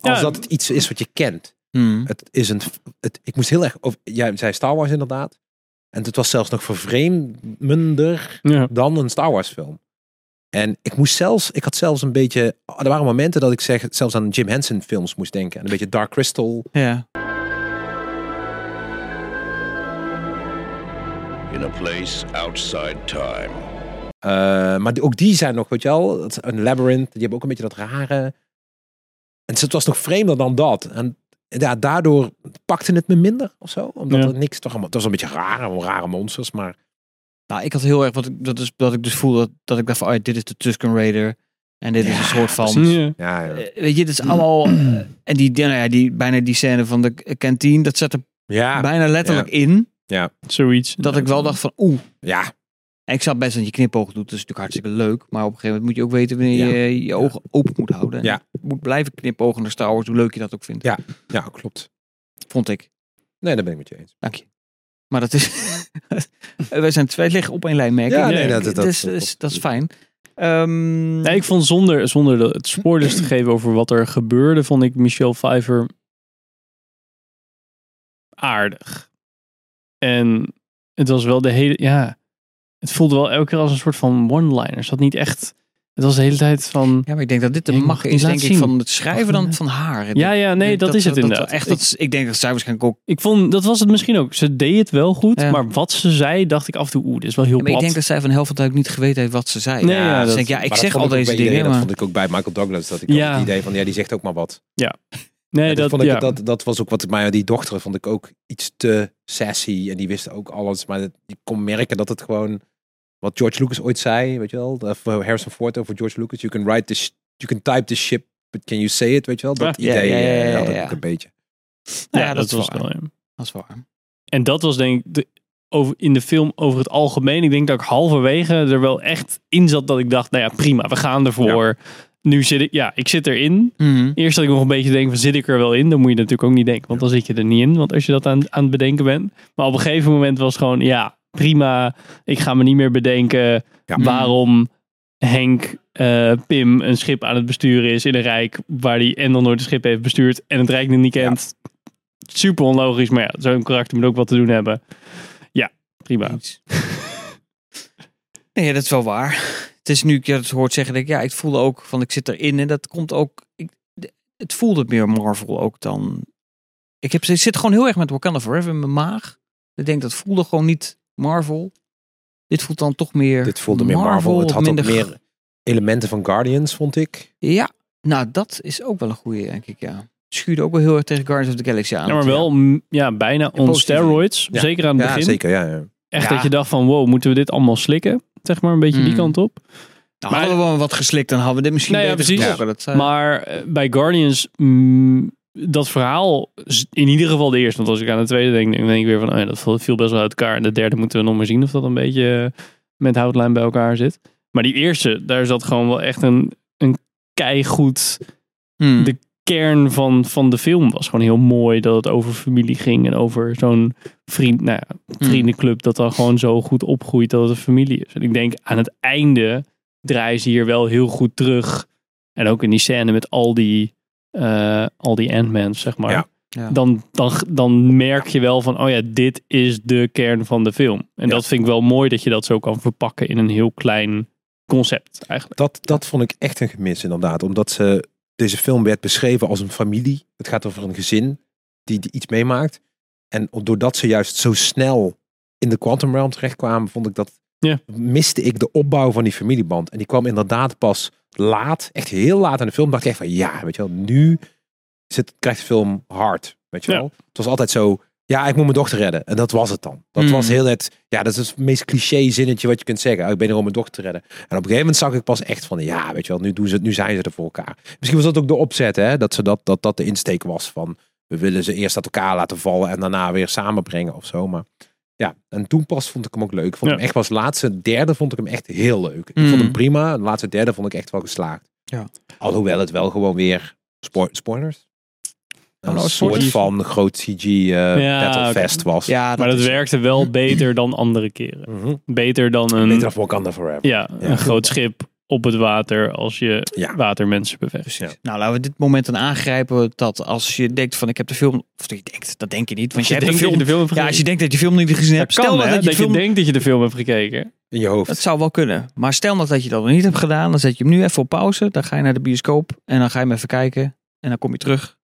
Speaker 5: als
Speaker 3: Ja.
Speaker 5: dat het iets is wat je kent.
Speaker 4: Hmm.
Speaker 5: Het is een, het, ik moest heel erg, of, jij zei Star Wars inderdaad, en het was zelfs nog vervreemdender
Speaker 3: Ja.
Speaker 5: dan een Star Wars film. En ik moest zelfs, ik had zelfs een beetje, er waren momenten dat ik zeg, zelfs aan Jim Henson films moest denken. En een beetje Dark Crystal,
Speaker 4: Ja.
Speaker 6: in a place outside time.
Speaker 5: Eh, maar die- ook die zijn nog, weet je wel, het- een labyrinth, die hebben ook een beetje dat rare. En het was nog vreemder dan dat. En ja, daardoor pakte het me minder of zo. Omdat
Speaker 3: Ja.
Speaker 5: er niks toch allemaal. Het was een beetje raar, allemaal rare monsters. Maar
Speaker 4: Nou, ik had heel erg... Wat ik, dat, is, dat ik dus voelde dat, dat ik dacht van... Oh, ja, dit is de Tusken Raider. En dit is
Speaker 5: Ja,
Speaker 4: een soort van...
Speaker 5: precies.
Speaker 3: <laughs> Ja.
Speaker 5: ja, ja.
Speaker 4: Eh, Weet je, dit is
Speaker 5: <clears throat>
Speaker 4: allemaal... eh, en die, nou ja, die, bijna die scène van de k- kantine, dat zat er
Speaker 5: Ah, ja,
Speaker 4: bijna letterlijk in.
Speaker 3: Zoiets.
Speaker 4: Dat ik wel dacht van, oeh,
Speaker 5: ja.
Speaker 4: En ik snap best dat je knipoog doet. Dat is natuurlijk hartstikke leuk. Maar op een gegeven moment moet je ook weten wanneer
Speaker 5: Ja.
Speaker 4: je je ogen open moet houden. En
Speaker 5: Ja.
Speaker 4: je moet blijven knipogen naar Star Wars, hoe leuk je dat ook vindt.
Speaker 5: Ja. ja, klopt.
Speaker 4: Vond ik.
Speaker 5: Nee, daar ben ik met je eens.
Speaker 4: Dank je. Maar dat is... <laughs> Wij zijn twee liggen op één lijn, merk ik.
Speaker 5: Ja,
Speaker 3: nee,
Speaker 4: Ik-
Speaker 5: dat- dat-
Speaker 4: dus- dus
Speaker 5: dat-
Speaker 4: dat, is, fijn. Ehm,
Speaker 3: Nee, ik vond zonder, zonder de- het spoilers te geven over wat er gebeurde, vond ik Michelle Pfeiffer aardig. En het was wel de hele, ja, het voelde wel elke keer als een soort van one-liner. Het had niet echt, het was de hele tijd van,
Speaker 4: Ja, maar ik denk dat dit de
Speaker 3: Ja, ik mag
Speaker 4: macht
Speaker 3: het
Speaker 4: is,
Speaker 3: niet
Speaker 4: denk
Speaker 3: laten
Speaker 4: ik,
Speaker 3: zien.
Speaker 4: van het schrijven dan van haar. Ik
Speaker 3: ja,
Speaker 4: denk-
Speaker 3: ja, nee,
Speaker 4: denk
Speaker 3: dat, is het inderdaad.
Speaker 4: echt, dat, is- ik denk dat zij waarschijnlijk ook...
Speaker 3: Ik vond, dat was het misschien ook. Ze deed het wel goed,
Speaker 4: Ja.
Speaker 3: maar wat ze zei, dacht ik af en toe, oeh, dit is wel heel
Speaker 4: Ja, maar ik
Speaker 3: plat.
Speaker 4: denk dat zij van de helft van de tijd ook niet geweten heeft wat ze zei.
Speaker 3: Nee, ja,
Speaker 4: dus
Speaker 3: dat-
Speaker 4: denk, ja ik
Speaker 5: Maar dat
Speaker 4: zeg
Speaker 5: vond
Speaker 4: al
Speaker 5: ik ook
Speaker 4: deze
Speaker 5: bij iedereen.
Speaker 4: dingen,
Speaker 5: Dat
Speaker 4: maar...
Speaker 5: vond ik ook bij Michael Douglas. Dat ik
Speaker 3: Ja.
Speaker 5: ook het idee van, ja, die zegt ook maar wat.
Speaker 3: nee,
Speaker 5: En dat,
Speaker 3: dat,
Speaker 5: vond ik,
Speaker 3: ja.
Speaker 5: dat, dat was ook wat, maar die dochter vond ik ook iets te sassy en die wist ook alles. Maar dat- ik kon merken dat het gewoon, wat George Lucas ooit zei, weet je wel, of eh, Harrison Ford over George Lucas, you can write the, sh- you can type the ship, but can you say it, weet je wel. Dat
Speaker 4: Ja,
Speaker 5: idee
Speaker 4: ja, ja, ja,
Speaker 5: eh, had
Speaker 4: ja,
Speaker 5: ik
Speaker 4: ja.
Speaker 5: ook een beetje.
Speaker 3: Ja,
Speaker 4: Ja,
Speaker 3: dat,
Speaker 4: dat is
Speaker 3: was
Speaker 4: waar.
Speaker 3: wel, ja.
Speaker 4: Dat is waar.
Speaker 3: En dat was denk ik de, over, in de film over het algemeen. Ik denk dat ik halverwege er wel echt in zat dat ik dacht, nou ja, prima, we gaan ervoor. nu zit ik, ja, ik zit erin.
Speaker 4: Mhm.
Speaker 3: Eerst dat ik nog een beetje denk van zit ik er wel in? Dan moet je natuurlijk ook niet denken, want dan zit je er niet in. Want als je dat aan, aan het bedenken bent. Maar op een gegeven moment was gewoon ja, prima. Ik ga me niet meer bedenken
Speaker 5: Ja.
Speaker 3: waarom Henk eh, Pim een schip aan het besturen is in een rijk waar hij en dan nooit een schip heeft bestuurd en het rijk nog niet kent. Super onlogisch, maar ja, zo'n karakter moet ook wat te doen hebben. Ja, prima.
Speaker 4: Nee, dat is wel waar. Het is nu ik je het hoort zeggen, denk ik, ja, ik voelde ook van ik zit erin en dat komt ook. Ik, d- het voelde meer Marvel ook dan. Ik, heb, ik zit gewoon heel erg met Wakanda Forever in mijn maag. Ik denk dat voelde gewoon niet Marvel. Dit voelt dan toch meer.
Speaker 5: Dit voelde meer Marvel. Het
Speaker 4: of
Speaker 5: had ook
Speaker 4: minder
Speaker 5: meer elementen van Guardians, vond ik.
Speaker 4: Ja, nou dat is ook wel een goede, denk ik, ja. Schuurde ook wel heel erg tegen Guardians of the Galaxy aan.
Speaker 3: Ja, maar wel mm, ja, bijna on
Speaker 4: positieve.
Speaker 3: steroids.
Speaker 5: Ja.
Speaker 3: Zeker aan het
Speaker 5: Ja,
Speaker 3: begin.
Speaker 5: zeker. Ja, ja.
Speaker 3: Echt
Speaker 4: Ja.
Speaker 3: dat je dacht van wow, moeten we dit allemaal slikken? Zeg maar een beetje die
Speaker 4: Mm.
Speaker 3: kant op.
Speaker 4: Nou, hadden we wel wat geslikt, dan hadden we dit misschien
Speaker 3: Nou ja,
Speaker 4: beter
Speaker 3: precies.
Speaker 4: gesproken. Dat, zou-
Speaker 3: Maar eh, bij Guardians, mm, dat verhaal, is in ieder geval de eerste. Want als ik aan de tweede denk, dan denk ik weer van, oh ja, dat viel- viel best wel uit elkaar. En de derde moeten we nog maar zien of dat een beetje eh, met houtlijn bij elkaar zit. Maar die eerste, daar zat gewoon wel echt een, een keigoed
Speaker 4: Hmm.
Speaker 3: de kern van, van de film. was gewoon heel mooi dat het over familie ging en over zo'n vriend, nou ja, vriendenclub dat dan gewoon zo goed opgroeit dat het een familie is. En ik denk aan het einde draaien ze hier wel heel goed terug. En ook in die scène met al die, eh, al die Ant-Mans, zeg maar.
Speaker 5: Ja.
Speaker 4: Ja.
Speaker 3: Dan, dan, dan merk je wel van, oh ja, dit is de kern van de film. En dat vind ik wel mooi dat je dat zo kan verpakken in een heel klein concept eigenlijk.
Speaker 5: Dat, dat vond ik echt een gemis, inderdaad. Omdat ze, deze film werd beschreven als een familie. Het gaat over een gezin die, die iets meemaakt. En doordat ze juist zo snel in de Quantum Realm terechtkwamen, vond ik dat.
Speaker 3: Ja.
Speaker 5: Miste ik de opbouw van die familieband. En die kwam inderdaad pas laat, echt heel laat in de film. Dacht ik echt van ja, weet je wel, nu zit, krijgt de film hard. Weet je
Speaker 3: Ja.
Speaker 5: wel? Het was altijd zo. Ja, ik moet mijn dochter redden. En dat was het dan. Dat
Speaker 4: Mm.
Speaker 5: was heel het. Ja, dat is het meest cliché zinnetje wat je kunt zeggen. Oh, ik ben er om mijn dochter te redden. En op een gegeven moment zag ik pas echt van ja, weet je wel, nu doen ze het, nu zijn ze er voor elkaar. Misschien was dat ook de opzet, hè? Dat ze dat, dat, dat de insteek was van we willen ze eerst uit elkaar laten vallen en daarna weer samenbrengen of zo. Maar ja, en toen pas vond ik hem ook leuk. Ik Vond
Speaker 3: Ja.
Speaker 5: hem echt pas laatste derde vond ik hem echt heel leuk. Ik
Speaker 4: Mm.
Speaker 5: vond hem prima. De laatste derde vond ik echt wel geslaagd.
Speaker 4: Ja.
Speaker 5: Alhoewel het wel gewoon weer spo- spoilers. Een
Speaker 4: nou,
Speaker 5: soort
Speaker 4: spoilers.
Speaker 5: van groot CG eh
Speaker 3: Ja,
Speaker 5: Battlefest was.
Speaker 4: ja, dat
Speaker 3: Maar dat
Speaker 4: is-
Speaker 3: werkte wel beter dan andere keren.
Speaker 5: Mhm.
Speaker 3: Beter dan een...
Speaker 5: Beter of Wakanda Forever.
Speaker 3: Ja, een groot schip op het water als je
Speaker 5: Ja.
Speaker 3: watermensen bevecht.
Speaker 5: Ja.
Speaker 4: Nou, laten we dit moment dan aangrijpen dat als je denkt van ik heb de film, of je denkt, dat denk je niet, want je, hebt de film.
Speaker 3: film hebt
Speaker 4: ja, als je denkt dat je film niet gezien hebt,
Speaker 3: kan,
Speaker 4: stel nou
Speaker 3: hè,
Speaker 4: dat je de
Speaker 3: dat je
Speaker 4: film.
Speaker 3: denkt dat je de film hebt gekeken.
Speaker 5: In je hoofd.
Speaker 4: dat zou wel kunnen. Maar stel nou dat je dat nog niet hebt gedaan, dan zet je hem nu even op pauze. Dan ga je naar de bioscoop en dan ga je hem even kijken en dan kom je terug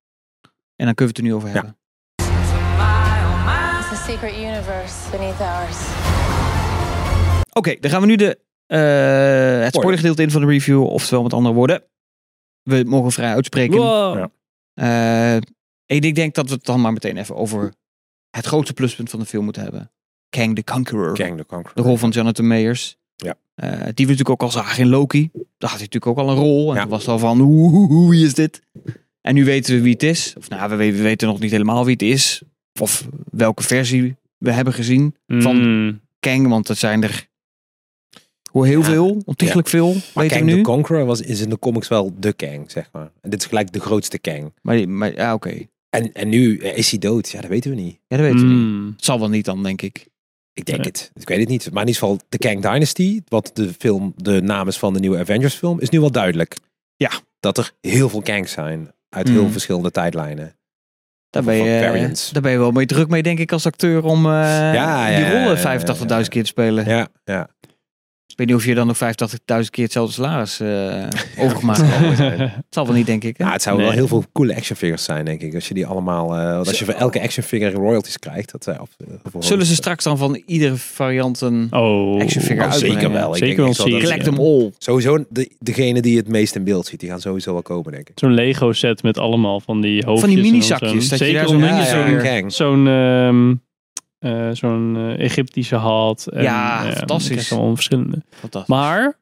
Speaker 4: en dan kunnen we het er nu over hebben.
Speaker 2: It's a secret universe beneath ours.
Speaker 4: Oké, dan gaan we nu de, eh, het spoilergedeelte in van de review, oftewel met andere woorden, we mogen vrij uitspreken.
Speaker 3: Wow.
Speaker 4: Eh, ik denk- denk dat we het dan maar meteen even over het grootste pluspunt van de film moeten hebben. Kang the Conqueror.
Speaker 5: Kang the Conqueror.
Speaker 4: De rol van Jonathan Mayers.
Speaker 5: Ja.
Speaker 4: Eh, die we natuurlijk ook al zagen in Loki. Daar had hij natuurlijk ook al een rol. En
Speaker 5: Ja.
Speaker 4: toen was het al van, hoe, hoe, hoe, wie is dit? En nu weten we wie het is. Of nou, we, we weten nog niet helemaal wie het is. Of welke versie we hebben gezien. Van-
Speaker 3: Mm.
Speaker 4: Kang, want dat zijn er hoe heel
Speaker 5: Ja.
Speaker 4: veel. Ontiegelijk veel.
Speaker 5: Maar
Speaker 4: weten we
Speaker 5: Kang
Speaker 4: nu.
Speaker 5: the Conqueror was, is in de comics wel de Kang, zeg maar. En dit is gelijk de grootste Kang.
Speaker 4: Maar, maar ja, oké.
Speaker 5: En, en nu eh, is hij dood. Ja, dat weten we niet.
Speaker 4: Ja, dat weten
Speaker 5: Hmm.
Speaker 4: we niet.
Speaker 3: Mm.
Speaker 4: Het zal wel niet dan, denk ik.
Speaker 5: Ik denk
Speaker 3: Nee.
Speaker 5: het. Ik weet het niet. Maar in ieder geval, de Kang Dynasty, wat de, film, de naam is van de nieuwe Avengers film, is nu wel duidelijk.
Speaker 4: Ja.
Speaker 5: Dat er heel veel Kangs zijn. Uit
Speaker 4: Mm.
Speaker 5: heel verschillende tijdlijnen.
Speaker 4: Daar ben,
Speaker 5: Van
Speaker 4: je,
Speaker 5: variants.
Speaker 4: daar ben je wel mee druk mee, denk ik, als acteur om eh,
Speaker 5: ja,
Speaker 4: die
Speaker 5: ja,
Speaker 4: rollen
Speaker 5: ja,
Speaker 4: 85.000 keer te spelen.
Speaker 5: Ja, ja.
Speaker 4: Ik weet niet of je dan nog 85.000 keer hetzelfde salaris eh overgemaakt
Speaker 5: <laughs>
Speaker 4: hebt.
Speaker 3: ja,
Speaker 4: Dat zal wel niet, denk ik. Hè?
Speaker 5: Ja, het zou wel
Speaker 3: Nee.
Speaker 5: heel veel coole action figures zijn, denk ik. Als je die allemaal, eh, want als je voor elke action figure royalties krijgt. Dat, zou- of, eh, voor-
Speaker 4: Zullen ze straks dan van iedere variant een...
Speaker 3: <laughs> oh.
Speaker 4: Action figure
Speaker 5: Oh, zeker
Speaker 4: uitbrengen?
Speaker 5: wel. Ik
Speaker 3: Zeker
Speaker 5: denk
Speaker 3: wel
Speaker 5: echt wel dat-
Speaker 3: serie.
Speaker 4: Collect them all.
Speaker 5: Sowieso de, degene die het meest in beeld ziet, die gaan sowieso wel komen, denk ik.
Speaker 3: Zo'n Lego set met allemaal van die hoofdjes. en dan
Speaker 4: minizakjes,
Speaker 3: zo'n-
Speaker 4: dat je
Speaker 3: Zeker
Speaker 4: daar
Speaker 3: om
Speaker 4: zo'n-
Speaker 3: in
Speaker 4: ja,
Speaker 3: zo'n
Speaker 4: ja.
Speaker 5: Kang.
Speaker 3: zo'n, ehm, eh, zo'n, eh, Egyptische had. En,
Speaker 4: Ja,
Speaker 3: eh,
Speaker 4: fantastisch.
Speaker 3: dan krijg je allemaal verschillende.
Speaker 4: Fantastisch.
Speaker 3: Maar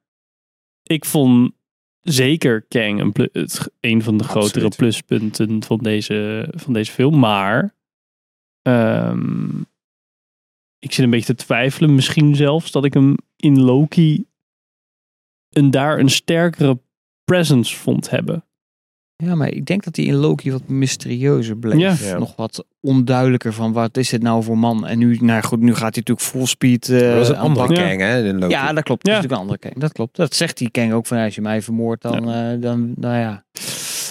Speaker 3: ik vond zeker Kang een, plu- het- een van de
Speaker 5: Absoluut.
Speaker 3: grotere pluspunten van deze, van deze film. Maar ehm, ik zit een beetje te twijfelen. Misschien zelfs dat ik hem in Loki een, daar een sterkere presence vond hebben.
Speaker 4: Ja, maar ik denk dat hij in Loki wat mysterieuzer bleef.
Speaker 3: Ja.
Speaker 5: Ja.
Speaker 4: Nog wat onduidelijker van wat is dit nou voor man. En nu, nou goed, nu gaat hij natuurlijk full speed eh,
Speaker 5: dat was een andere
Speaker 4: aanpakken.
Speaker 3: ja.
Speaker 5: gang, hè? in Loki.
Speaker 4: Ja, dat klopt.
Speaker 3: Ja.
Speaker 4: Dat is natuurlijk een andere Kang. Dat klopt. Dat zegt die Kang ook van als je mij vermoordt, dan, eh, dan nou ja.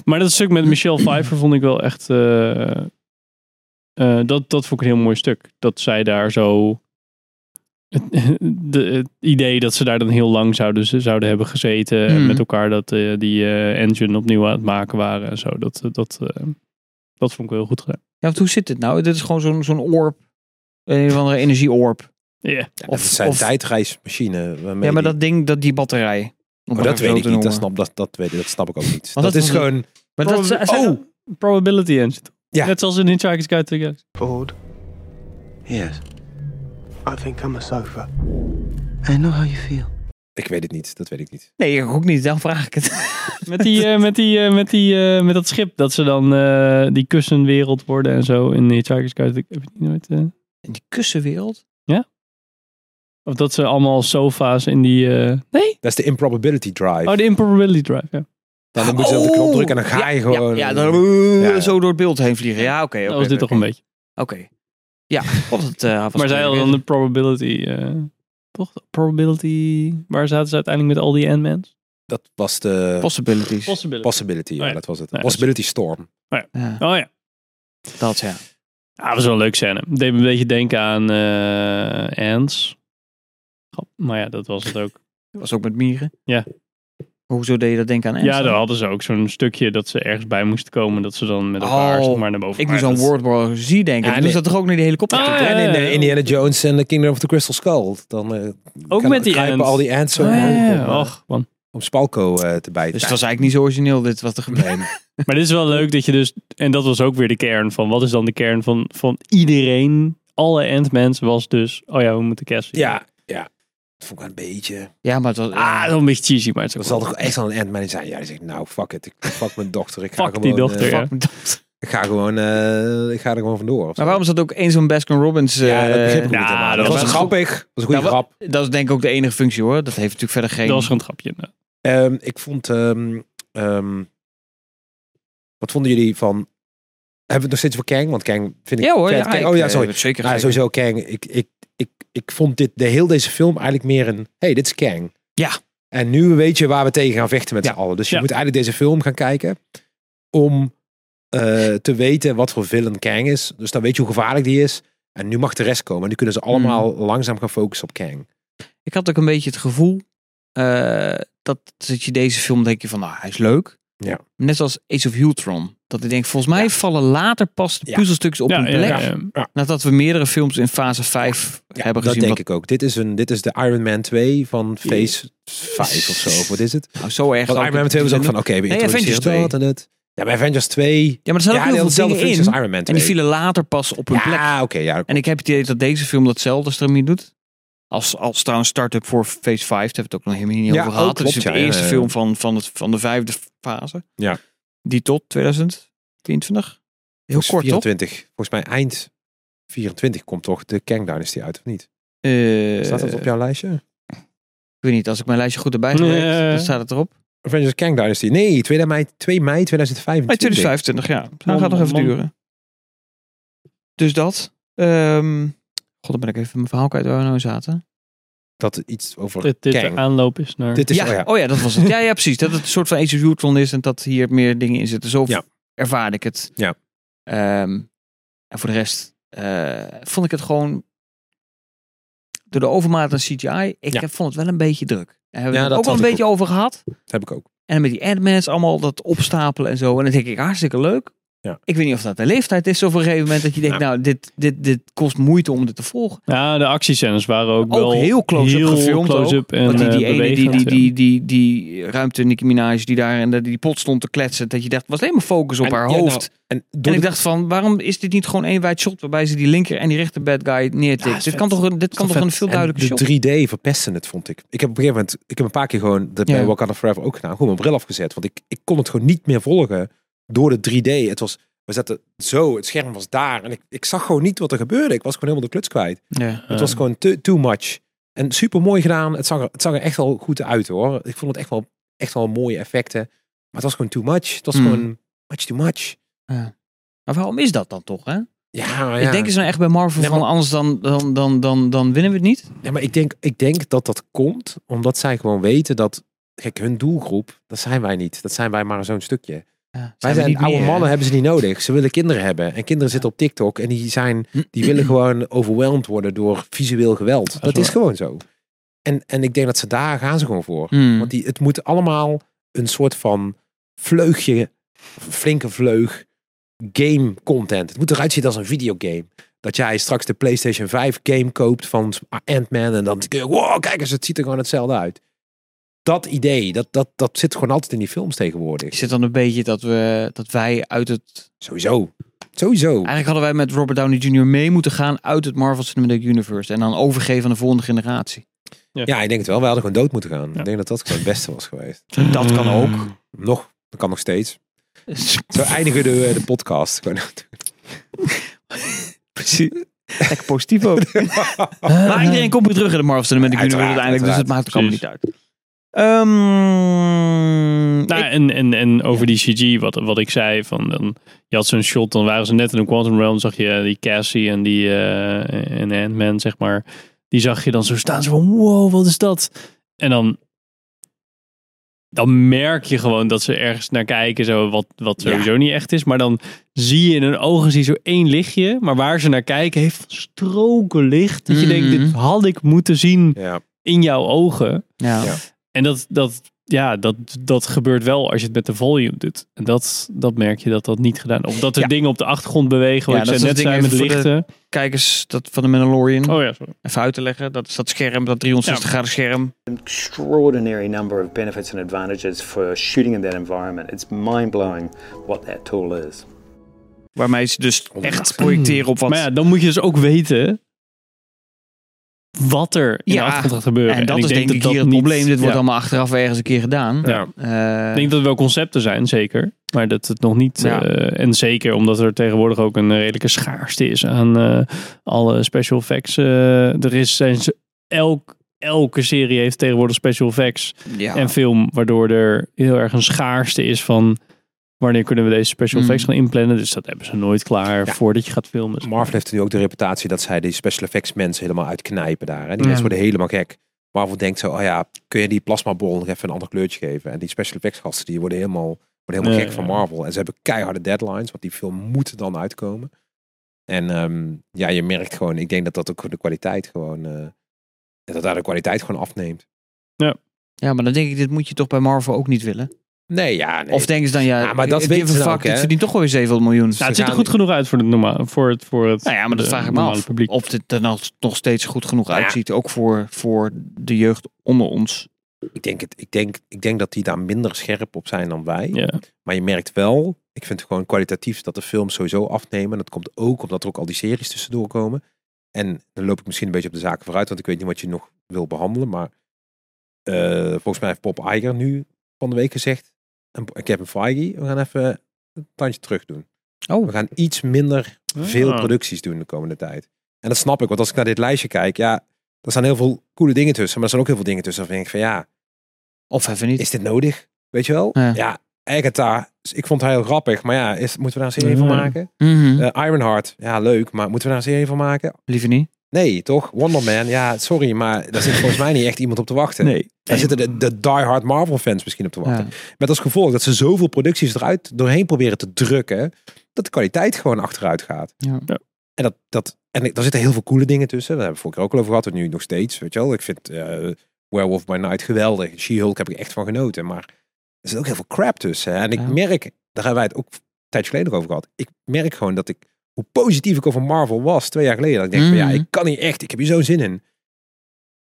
Speaker 3: Maar dat stuk met Michelle Pfeiffer vond ik wel echt. eh, eh, dat, dat vond ik een heel mooi stuk. Dat zij daar zo. Het, <laughs> de- het idee dat ze daar dan heel lang zouden, zouden hebben gezeten. En
Speaker 4: Mhm.
Speaker 3: met elkaar dat eh, die eh, engine opnieuw aan het maken waren en zo. Dat, dat, eh, dat vond ik wel heel goed gedaan.
Speaker 4: Ja, want hoe zit dit nou? Dit is gewoon zo'n zo'n orb. Een of andere energieorb.
Speaker 3: Ja.
Speaker 5: of,
Speaker 4: Of,
Speaker 5: zijn
Speaker 4: of-
Speaker 5: tijdreismachine. waarmee
Speaker 4: ja, maar
Speaker 5: die-
Speaker 4: dat ding, dat, die batterij. Om
Speaker 5: Oh,
Speaker 4: het
Speaker 5: dat
Speaker 4: even zo
Speaker 5: weet ik
Speaker 4: te
Speaker 5: niet. Dat
Speaker 4: noemen.
Speaker 5: snap, dat, dat, weet, ik- dat snap ik ook niet.
Speaker 4: dat
Speaker 5: dat, is
Speaker 4: was-
Speaker 5: gewoon...
Speaker 4: Maar dat, ze- ze-
Speaker 3: oh, probability engine.
Speaker 5: Ja.
Speaker 3: Net zoals in Hitchhiker's Guide to the Galaxy.
Speaker 7: Ford,
Speaker 8: Yes,
Speaker 7: I think I'm a sofa.
Speaker 8: I know how you feel.
Speaker 5: Ik weet het niet. Dat weet ik niet.
Speaker 4: Nee, ik ook niet. Dan vraag ik het. <laughs>
Speaker 3: Met, die, eh, met, die, eh, met, die, eh, met dat schip dat ze dan eh, die kussenwereld worden en zo in Hitchhiker's Guide. Heb je die nooit? eh?
Speaker 4: In die kussenwereld?
Speaker 3: Of dat ze allemaal sofa's in die... eh, Nee?
Speaker 5: Dat is de improbability drive.
Speaker 3: Oh, de improbability drive, ja.
Speaker 5: dan moet je
Speaker 4: Oh!
Speaker 5: op de knop drukken en dan ga je
Speaker 4: Ja,
Speaker 5: gewoon...
Speaker 4: Ja, dan eh,
Speaker 5: ja.
Speaker 4: zo door het beeld heen vliegen. Ja, oké.
Speaker 3: Dat
Speaker 4: oké,
Speaker 3: was dit
Speaker 4: oké.
Speaker 3: toch een beetje.
Speaker 4: Oké. Ja, klopt. Het, eh, was gewoon
Speaker 3: Maar zij hadden
Speaker 4: weer-
Speaker 3: dan de probability... eh, toch? Probability... Waar zaten ze uiteindelijk met al die Ant-Mans?
Speaker 5: Dat was de
Speaker 4: possibilities.
Speaker 3: Possibility.
Speaker 5: possibility. Ja,
Speaker 3: Oh ja.
Speaker 5: dat was het.
Speaker 3: Nee, dat is-
Speaker 5: possibility storm.
Speaker 4: ja,
Speaker 3: oh ja.
Speaker 4: dat ja.
Speaker 3: Ah, dat was wel een leuk scène. Deed me een beetje denken aan eh Ants. Grap, Maar ja, dat was het ook.
Speaker 4: Was ook met mieren.
Speaker 3: Ja.
Speaker 4: Hoezo deed je dat denken aan Ernst?
Speaker 3: Ja, daar hadden ze ook zo'n stukje dat ze ergens bij moesten komen. Dat ze dan met elkaar
Speaker 4: Oh,
Speaker 3: zeg maar naar boven
Speaker 4: Ik moest aan
Speaker 3: waren.
Speaker 4: World War Z denken.
Speaker 5: Ja,
Speaker 4: en
Speaker 5: nee.
Speaker 4: moest dat toch ook naar die helikopter?
Speaker 3: Ah,
Speaker 4: toe?
Speaker 3: ja,
Speaker 5: en in
Speaker 3: ja,
Speaker 5: eh,
Speaker 3: ja.
Speaker 5: Indiana Jones en The Kingdom of the Crystal Skull. Dan eh,
Speaker 3: Ook
Speaker 5: kan-
Speaker 3: met die
Speaker 5: kruipen
Speaker 3: ants.
Speaker 5: al die ants zo
Speaker 3: Ah, ja, ja,
Speaker 5: omhoog
Speaker 3: ja.
Speaker 5: om, eh,
Speaker 3: Och, man.
Speaker 5: om Spalko eh, te bijten.
Speaker 4: Dus het
Speaker 5: <laughs>
Speaker 4: was eigenlijk niet zo origineel dit wat er gebeurde.
Speaker 3: Maar dit is wel leuk dat je dus... En dat was ook weer de kern van... Wat is dan de kern van, van iedereen? Alle Ant-Mans was dus... Oh ja, we moeten Cassie.
Speaker 5: Ja, ja. Dat vond ik wel een beetje...
Speaker 4: Ja, maar het was...
Speaker 3: Ah, dat is een beetje cheesy, maar het
Speaker 5: Dat
Speaker 3: is
Speaker 5: zal
Speaker 3: ook wel-
Speaker 5: toch echt wel een endman zijn. Ja, die zegt, nou, fuck it. Ik fuck mijn dochter. Ik ga
Speaker 3: Fuck
Speaker 5: gewoon,
Speaker 3: die
Speaker 5: eh,
Speaker 3: dochter, ja.
Speaker 4: fuck me dat.
Speaker 5: ik, ga gewoon eh, ik ga er gewoon vandoor. of zo.
Speaker 4: Maar waarom is dat ook één zo'n Baskin Robbins? eh,
Speaker 5: Ja, dat begreep ik
Speaker 3: ja,
Speaker 5: niet helemaal.
Speaker 3: dat
Speaker 5: Dat was
Speaker 3: was
Speaker 5: grappig. Dat was een goede
Speaker 4: Nou, wa-
Speaker 5: grap.
Speaker 4: Dat is denk ik ook de enige functie hoor. Dat heeft natuurlijk verder geen...
Speaker 3: Dat was gewoon een grapje. inderdaad.
Speaker 5: Ehm, ik vond... ehm, ehm, wat vonden jullie van... Hebben we het nog steeds voor Kang? Want Kang vind ik...
Speaker 4: ja hoor.
Speaker 5: vet.
Speaker 4: Ja,
Speaker 5: Kang-
Speaker 4: ik,
Speaker 5: oh ja,
Speaker 4: eh,
Speaker 5: sorry.
Speaker 4: Zeker.
Speaker 5: Ja,
Speaker 4: zeker.
Speaker 5: sowieso Kang. Ik, ik, ik, ik vond dit, de heel deze film eigenlijk meer een... hey, dit is Kang.
Speaker 4: Ja.
Speaker 5: En nu weet je waar we tegen gaan vechten met
Speaker 4: Ja.
Speaker 5: z'n allen. Dus je
Speaker 3: Ja.
Speaker 5: moet eigenlijk deze film gaan kijken... om eh, te weten wat voor villain Kang is. Dus dan weet je hoe gevaarlijk die is. En nu mag de rest komen. En nu kunnen ze allemaal
Speaker 4: Mm.
Speaker 5: langzaam gaan focussen op Kang.
Speaker 4: Ik had ook een beetje het gevoel eh, dat, dat je deze film denk je van, nou, hij is leuk.
Speaker 5: Ja.
Speaker 4: Net als Ace of Ultron. Dat ik denk, volgens mij vallen later pas de
Speaker 5: Ja.
Speaker 4: puzzelstukjes op
Speaker 3: ja,
Speaker 4: hun
Speaker 3: ja,
Speaker 4: plek.
Speaker 3: ja, ja.
Speaker 4: Nadat we meerdere films in fase 5
Speaker 5: Ja,
Speaker 4: hebben
Speaker 5: dat
Speaker 4: gezien.
Speaker 5: denk ik ook. Dit is, een, dit is de Iron Man 2 van Phase 5 of zo. Of wat is het?
Speaker 4: Nou, zo erg.
Speaker 5: Want
Speaker 4: zal
Speaker 5: Iron
Speaker 4: ik
Speaker 5: Man
Speaker 4: het
Speaker 5: 2 was ook
Speaker 4: niet
Speaker 5: van, oké, we
Speaker 4: Nee,
Speaker 5: introduceren
Speaker 4: Avengers 2.
Speaker 5: dat en het. Ja, bij Avengers 2...
Speaker 4: Ja, maar er zaten
Speaker 5: Ja,
Speaker 4: ook heel
Speaker 5: die had
Speaker 4: veel
Speaker 5: dezelfde
Speaker 4: dingen
Speaker 5: functie
Speaker 4: in.
Speaker 5: als Iron Man 2.
Speaker 4: En die vielen later pas op hun plek.
Speaker 5: Ja, oké. ja,
Speaker 4: En ik heb het idee dat deze film datzelfde stramien doet. Als, als trouwens start-up voor Phase 5. Daar hebben we het ook nog helemaal niet
Speaker 5: Ja,
Speaker 4: over
Speaker 5: oh,
Speaker 4: gehad.
Speaker 5: klopt,
Speaker 4: dat is de
Speaker 5: ja, ja,
Speaker 4: eerste
Speaker 5: ja.
Speaker 4: film van, van, het, van de vijfde fase.
Speaker 5: Ja.
Speaker 4: Die tot 2024. Heel
Speaker 5: Volgens
Speaker 4: kort, toch?
Speaker 5: 24. Dus Volgens mij eind 24 komt toch de Kang Dynasty uit, of niet?
Speaker 4: Eh,
Speaker 5: Staat dat op jouw lijstje?
Speaker 4: Ik weet niet, als ik mijn lijstje goed erbij gewerkt,
Speaker 3: Nee.
Speaker 5: eh,
Speaker 4: dan staat het erop. Oh,
Speaker 5: Avengers Kang Dynasty. Nee, 2 mei, 2 mei 2025.
Speaker 4: Maar 2025, ja. Dan
Speaker 3: Man,
Speaker 4: gaat nog even
Speaker 3: man.
Speaker 4: duren. Dus dat. ehm, God, dan ben ik even mijn verhaal kwijt waar we nou in zaten.
Speaker 5: Dat er iets over
Speaker 3: Dit, dit de
Speaker 5: Kang.
Speaker 3: aanloop is naar...
Speaker 5: Dit is,
Speaker 4: ja.
Speaker 5: oh ja.
Speaker 4: dat was het. Ja, ja, precies. Dat het een soort van Ace of Ultron is en dat hier meer dingen in zitten. Zo
Speaker 5: Ja.
Speaker 4: ervaar ik het.
Speaker 5: Ja.
Speaker 4: Ehm, en voor de rest eh, vond ik het gewoon door de overmaat aan CGI. Ik
Speaker 5: Ja.
Speaker 4: heb- vond het wel een beetje druk. Daar hebben
Speaker 5: Ja,
Speaker 4: we het
Speaker 5: dat
Speaker 4: ook wel een
Speaker 5: had ik
Speaker 4: beetje over gehad.
Speaker 5: heb ik ook.
Speaker 4: En met die Ant-Mans allemaal dat opstapelen en zo. En dan denk ik, hartstikke leuk.
Speaker 5: Ja.
Speaker 4: Ik weet niet of dat de leeftijd is of op een gegeven moment dat je denkt, nou, dit, dit, dit kost moeite om dit te volgen.
Speaker 3: Ja, de actiescènes waren ook,
Speaker 4: Ook
Speaker 3: wel
Speaker 4: heel close-up
Speaker 3: heel
Speaker 4: gefilmd
Speaker 3: close-up en
Speaker 4: Want die, die
Speaker 3: eh,
Speaker 4: ene, die, die,
Speaker 3: bewegend.
Speaker 4: die, die, die ruimte Nicki Minaj die daar en die, die pot stond te kletsen, dat je dacht, was alleen maar focus op
Speaker 5: En-
Speaker 4: haar
Speaker 5: ja, nou,
Speaker 4: hoofd.
Speaker 5: En, door
Speaker 4: en ik
Speaker 5: de-
Speaker 4: dacht van, waarom is dit niet gewoon één wijd shot waarbij ze die linker en die rechter bad guy neertikt? dit kan toch, een- dit kan toch een veel
Speaker 5: En
Speaker 4: duidelijker shot?
Speaker 5: De 3D verpesten het, vond ik. Ik heb op een gegeven moment, ik heb een paar keer gewoon de
Speaker 4: Ja.
Speaker 5: bij Wakanda Forever ook gedaan, gewoon mijn bril afgezet, want ik, ik kon het gewoon niet meer volgen door de 3D. Het was, we zaten zo, het scherm was daar en ik, ik zag gewoon niet wat er gebeurde. Ik was gewoon helemaal de kluts kwijt.
Speaker 4: Ja.
Speaker 5: Het was gewoon te, too much. En super mooi gedaan. Het zag, er, het zag er echt wel goed uit hoor. Ik vond het echt wel echt wel mooie effecten. Maar het was gewoon too much. Het was
Speaker 4: Mm.
Speaker 5: gewoon much too much.
Speaker 4: Maar waarom is dat dan toch, hè?
Speaker 5: Ja, maar
Speaker 4: Ik denk eens nou echt bij Marvel
Speaker 5: Nee,
Speaker 4: van
Speaker 5: maar-
Speaker 4: anders dan, dan, dan, dan, dan winnen we het niet.
Speaker 5: Ja, maar ik denk, ik denk dat dat komt omdat zij gewoon weten dat... Kijk, hun doelgroep, dat zijn wij niet. Dat zijn wij maar zo'n stukje.
Speaker 4: Ja,
Speaker 5: wij
Speaker 4: we
Speaker 5: zijn
Speaker 4: niet
Speaker 5: oude
Speaker 4: meer, hè?
Speaker 5: mannen, hebben ze niet nodig. Ze willen kinderen hebben. En kinderen zitten op TikTok en die, zijn, die willen gewoon overweldigd worden door visueel geweld. Dat, is
Speaker 3: waar.
Speaker 5: gewoon zo. En, en ik denk dat ze daar gaan ze gewoon voor.
Speaker 4: Hmm.
Speaker 5: Want die, het moet allemaal een soort van vleugje, flinke vleug, game content. Het moet eruit zien als een videogame. Dat jij straks de PlayStation 5 game koopt van Ant-Man en dan kun je, wow, kijk eens, het ziet er gewoon hetzelfde uit. Dat idee, dat, dat, dat zit gewoon altijd in die films
Speaker 4: Is
Speaker 5: tegenwoordig.
Speaker 4: het dan een beetje dat, we, dat wij uit het...
Speaker 5: Sowieso. Sowieso.
Speaker 4: Eigenlijk hadden wij met Robert Downey Jr. mee moeten gaan uit het Marvel Cinematic Universe. En dan overgeven aan de volgende
Speaker 3: <laughs>
Speaker 4: generatie.
Speaker 5: Ja, ik denk het wel. Wij hadden gewoon dood moeten gaan.
Speaker 3: Ja.
Speaker 5: Ik denk dat dat gewoon het beste was geweest.
Speaker 4: Dat kan ook.
Speaker 5: Nog, dat kan nog steeds. Zo eindigen de, de podcast. Gewoon. <laughs>
Speaker 4: Precies. Lekker positief
Speaker 3: <laughs>
Speaker 4: ook. maar iedereen komt weer terug in de Marvel Cinematic Universe
Speaker 5: Uiteraard,
Speaker 4: uiteindelijk. Dus het maakt ook allemaal niet uit. Ehm,
Speaker 3: Nou,
Speaker 4: ik-
Speaker 3: en, en, en over die CG, wat, wat ik zei, van dan, je had zo'n shot, dan waren ze net in een Quantum Realm, zag je eh, die Cassie en die eh, en Ant-Man, zeg maar. Die zag je dan zo staan, zo van, wow, wat is dat? En dan, dan merk je gewoon dat ze ergens naar kijken, zo, wat, wat
Speaker 5: Ja.
Speaker 3: sowieso niet echt is. Maar dan zie je in hun ogen zie je zo één lichtje, maar waar ze naar kijken heeft stroken licht. Dat je denkt,
Speaker 4: Mhm.
Speaker 3: dit had ik moeten zien
Speaker 5: Ja.
Speaker 3: in jouw ogen.
Speaker 4: ja.
Speaker 5: Ja.
Speaker 3: En dat, dat, ja, dat, dat gebeurt wel als je het met de volume doet. En dat, dat merk je dat dat niet gedaan Of dat er
Speaker 4: Ja.
Speaker 3: dingen op de achtergrond bewegen.
Speaker 4: Ja,
Speaker 3: Wat
Speaker 4: dat
Speaker 3: je
Speaker 4: is
Speaker 3: net
Speaker 4: het ding
Speaker 3: zei met
Speaker 4: even voor de- Hmm.
Speaker 3: lichten.
Speaker 4: Kijk eens dat van de Mandalorian.
Speaker 3: Oh ja, sorry.
Speaker 4: Even uit te leggen. Dat is dat scherm, dat 360 graden scherm.
Speaker 9: extraordinary number of benefits and advantages for shooting in that environment. It's mind blowing what that tool is.
Speaker 4: Waarmee ze dus echt projecteren op wat...
Speaker 3: Maar ja, dan moet je dus ook weten wat er in
Speaker 4: Ja,
Speaker 3: de achtergrond gaat gebeuren.
Speaker 4: en dat is denk, ik
Speaker 3: dat
Speaker 4: hier het
Speaker 3: niet-
Speaker 4: probleem. Dit wordt
Speaker 3: ja.
Speaker 4: allemaal achteraf ergens een keer gedaan.
Speaker 3: Ja.
Speaker 4: Eh,
Speaker 3: Ik denk dat er wel concepten zijn, zeker. Maar dat het nog niet...
Speaker 4: Ja.
Speaker 3: eh, en zeker omdat er tegenwoordig ook een redelijke schaarste is aan eh, alle special effects. eh, er is, zijn ze- elk, elke serie heeft tegenwoordig special effects.
Speaker 4: ja.
Speaker 3: en film, waardoor er heel erg een schaarste is van wanneer kunnen we deze special
Speaker 4: Mm.
Speaker 3: effects gaan inplannen. Dus dat hebben ze nooit klaar
Speaker 5: Ja.
Speaker 3: voordat je gaat filmen. Nou,
Speaker 5: Marvel heeft nu ook de reputatie dat zij die special effects mensen helemaal uitknijpen daar. Hè. Die mensen worden helemaal gek. Marvel denkt zo, oh ja, kun je die plasmabol nog even een ander kleurtje geven? En die special effects gasten, die worden helemaal, worden helemaal
Speaker 3: Ja,
Speaker 5: gek
Speaker 3: ja.
Speaker 5: van Marvel. En ze hebben keiharde deadlines, want die film moet dan uitkomen. En ehm, ja, je merkt gewoon, ik denk dat dat ook de kwaliteit gewoon, eh, dat daar de kwaliteit gewoon afneemt.
Speaker 4: ja, maar dan denk ik, dit moet je toch bij Marvel ook niet willen.
Speaker 5: Nee, ja, nee.
Speaker 4: Of denken ze dan, ja,
Speaker 5: Ja, maar dat
Speaker 4: ik
Speaker 5: weten
Speaker 4: give
Speaker 5: ze
Speaker 4: a
Speaker 5: dan
Speaker 4: fuck,
Speaker 5: ook, hè?
Speaker 4: dit verdient toch wel weer 700 miljoen.
Speaker 3: nou,
Speaker 5: ze
Speaker 3: het ziet er
Speaker 5: gaan-
Speaker 3: goed genoeg uit voor, de norma voor het, voor het
Speaker 4: Nou ja, maar dat
Speaker 3: de
Speaker 4: vraag ik me
Speaker 3: normale
Speaker 4: af.
Speaker 3: publiek.
Speaker 4: Of dit er nog, nog steeds goed genoeg
Speaker 5: Nou ja.
Speaker 4: uitziet. Ook voor, voor de jeugd onder ons.
Speaker 5: ik, denk het, ik, denk, ik denk dat die daar minder scherp op zijn dan wij.
Speaker 3: Ja.
Speaker 5: Maar je merkt wel, ik vind het gewoon kwalitatief dat de films sowieso afnemen. Dat komt ook omdat er ook al die series tussendoor komen. En dan loop ik misschien een beetje op de zaken vooruit, want ik weet niet wat je nog wil behandelen. Maar eh, volgens mij heeft Bob Iger nu van de week gezegd, en ik heb een Feige, we gaan even een tandje terug doen.
Speaker 4: Oh.
Speaker 5: We gaan iets minder veel
Speaker 3: Ah.
Speaker 5: producties doen de komende tijd. En dat snap ik, want als ik naar dit lijstje kijk, ja, er staan heel veel coole dingen tussen. Maar er zijn ook heel veel dingen tussen waarvan ik denk van ja,
Speaker 4: Of even niet.
Speaker 5: is dit nodig? Weet je wel?
Speaker 4: Ja.
Speaker 5: Ja, Agatha, ik vond haar heel grappig. Maar ja, is, moeten we daar een serie van
Speaker 3: Ja.
Speaker 5: maken?
Speaker 4: Mhm.
Speaker 5: Eh, Ironheart, ja leuk, maar moeten we daar een serie van maken?
Speaker 4: Liever niet.
Speaker 5: Nee, toch? Wonder Man, ja sorry, maar daar zit volgens mij niet echt iemand op te wachten.
Speaker 4: Nee.
Speaker 5: Daar zitten de, de diehard Marvel fans misschien op te wachten.
Speaker 4: Ja.
Speaker 5: Met als gevolg dat ze zoveel producties eruit doorheen proberen te drukken, dat de kwaliteit gewoon achteruit gaat.
Speaker 4: Ja.
Speaker 3: Ja.
Speaker 5: En, dat, dat, en ik- daar zitten heel veel coole dingen tussen. Daar hebben we vorige keer ook al over gehad en nu nog steeds. Weet je wel, ik vind eh, Werewolf by Night geweldig. She-Hulk heb ik echt van genoten. Maar er zit ook heel veel crap tussen. hè. En ik
Speaker 4: Ja.
Speaker 5: merk, daar hebben wij het ook een tijdje geleden over gehad. Ik merk gewoon dat ik, hoe positief ik over Marvel was twee jaar geleden. Dat ik denk van
Speaker 4: Mhm.
Speaker 5: ja, ik kan hier echt, ik heb hier zo'n zin in.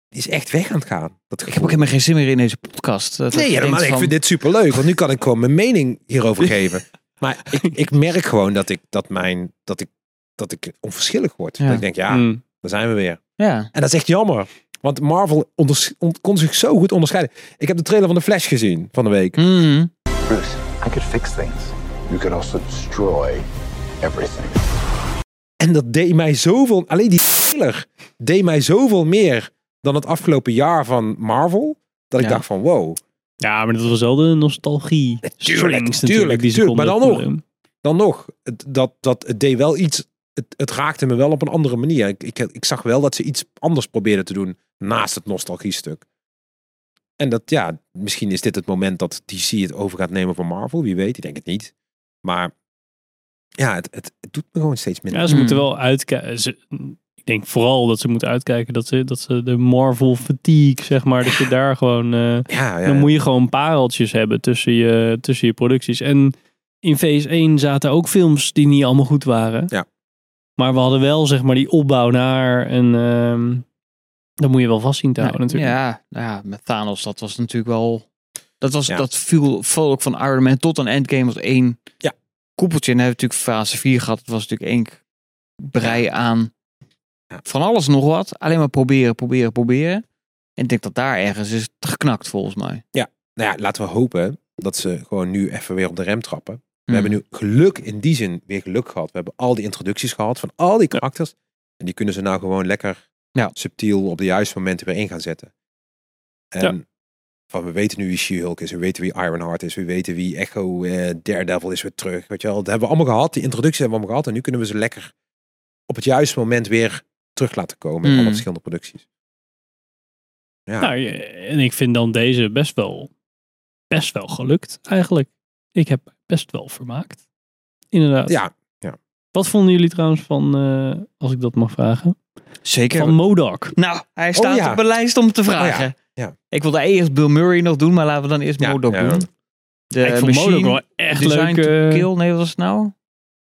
Speaker 5: Die is echt weg aan het gaan. Dat
Speaker 4: Ik heb ook helemaal geen zin meer in deze podcast. Dat
Speaker 5: Nee,
Speaker 4: ik
Speaker 5: ja,
Speaker 4: denk
Speaker 5: maar ik
Speaker 4: van-
Speaker 5: vind dit superleuk, want nu kan ik gewoon mijn mening
Speaker 4: <laughs>
Speaker 5: hierover geven. Maar ik, ik merk gewoon dat ik, dat mijn, dat ik, dat ik onverschillig word.
Speaker 4: Ja.
Speaker 5: Dat ik denk, ja,
Speaker 3: Mm.
Speaker 5: daar zijn we weer.
Speaker 4: Ja.
Speaker 5: En dat is echt jammer. Want Marvel onders- on- kon zich zo goed onderscheiden. Ik heb de trailer van The Flash gezien van de week.
Speaker 4: Mhm.
Speaker 6: Bruce, I could fix things. You could also destroy everything.
Speaker 5: En dat deed mij zoveel... Alleen die trailer deed mij zoveel meer dan het afgelopen jaar van Marvel. Dat ik
Speaker 4: Ja.
Speaker 5: dacht van, wow.
Speaker 3: Ja, maar dat was wel de nostalgie. strings
Speaker 5: tuurlijk,
Speaker 3: die ze
Speaker 5: tuurlijk, maar
Speaker 3: konden
Speaker 5: dan nog.
Speaker 3: voelen.
Speaker 5: Dan nog, het, dat, dat, het deed wel iets. Het, het raakte me wel op een andere manier. Ik, ik, ik zag wel dat ze iets anders probeerden te doen naast het nostalgiestuk. En dat, ja, misschien is dit het moment dat DC het over gaat nemen van Marvel. Wie weet, ik denk het niet. Maar ja, het, het, het doet me gewoon steeds minder.
Speaker 3: Ja, ze
Speaker 4: Hmm.
Speaker 3: moeten wel uitkijken. Ze- Ik denk vooral dat ze moeten uitkijken dat ze, dat ze de Marvel fatigue, zeg maar, dat
Speaker 4: <sighs>
Speaker 3: je daar gewoon... eh,
Speaker 5: Ja, ja.
Speaker 3: Dan moet je gewoon pareltjes hebben tussen je, tussen je producties. En in phase 1 zaten ook films die niet allemaal goed waren.
Speaker 5: Ja.
Speaker 3: Maar we hadden wel zeg maar die opbouw naar en ehm dat moet je wel vast zien te houden natuurlijk.
Speaker 4: Ja, nou ja, met Thanos, dat was natuurlijk wel... Dat, was,
Speaker 5: Ja.
Speaker 4: dat viel volk van Iron Man tot aan Endgame was één
Speaker 5: Ja.
Speaker 4: koepeltje. En dan hebben we natuurlijk fase 4 gehad. Het was natuurlijk één k- brei aan
Speaker 5: Ja.
Speaker 4: van alles en nog wat. Alleen maar proberen, proberen, proberen. En ik denk dat daar ergens is het geknakt volgens mij.
Speaker 5: Nou ja, laten we hopen dat ze gewoon nu even weer op de rem trappen. We hebben
Speaker 4: Hmm.
Speaker 5: nu geluk in die zin weer geluk gehad. We hebben al die introducties gehad van al die karakters. En die kunnen ze nou gewoon lekker
Speaker 4: Ja.
Speaker 5: subtiel op de juiste momenten weer in gaan zetten. En van we weten nu wie She-Hulk is, we weten wie Ironheart is, we weten wie Echo eh, Daredevil is weer terug. Weet je wel, dat hebben we allemaal gehad. Die introducties hebben we allemaal gehad. En nu kunnen we ze lekker op het juiste moment weer terug laten komen in
Speaker 4: Mm.
Speaker 5: alle verschillende producties. Ja.
Speaker 3: Nou, je- en ik vind dan deze best wel, best wel gelukt eigenlijk. Ik heb best wel vermaakt. Inderdaad.
Speaker 5: ja,
Speaker 3: Wat vonden jullie trouwens van, eh, als ik dat mag vragen,
Speaker 4: Zeker.
Speaker 3: van Modoc?
Speaker 4: Nou, hij staat
Speaker 5: Oh ja.
Speaker 4: op mijn lijst om te vragen.
Speaker 5: ja.
Speaker 4: Ik wilde eerst Bill Murray nog doen, maar laten we dan eerst
Speaker 5: Ja,
Speaker 4: Modok
Speaker 5: ja.
Speaker 4: doen. De
Speaker 3: ik vond
Speaker 4: machine,
Speaker 3: Modoc wel echt
Speaker 4: Design
Speaker 3: leuk.
Speaker 4: to
Speaker 3: eh,
Speaker 4: Kill, nee, wat was het nou?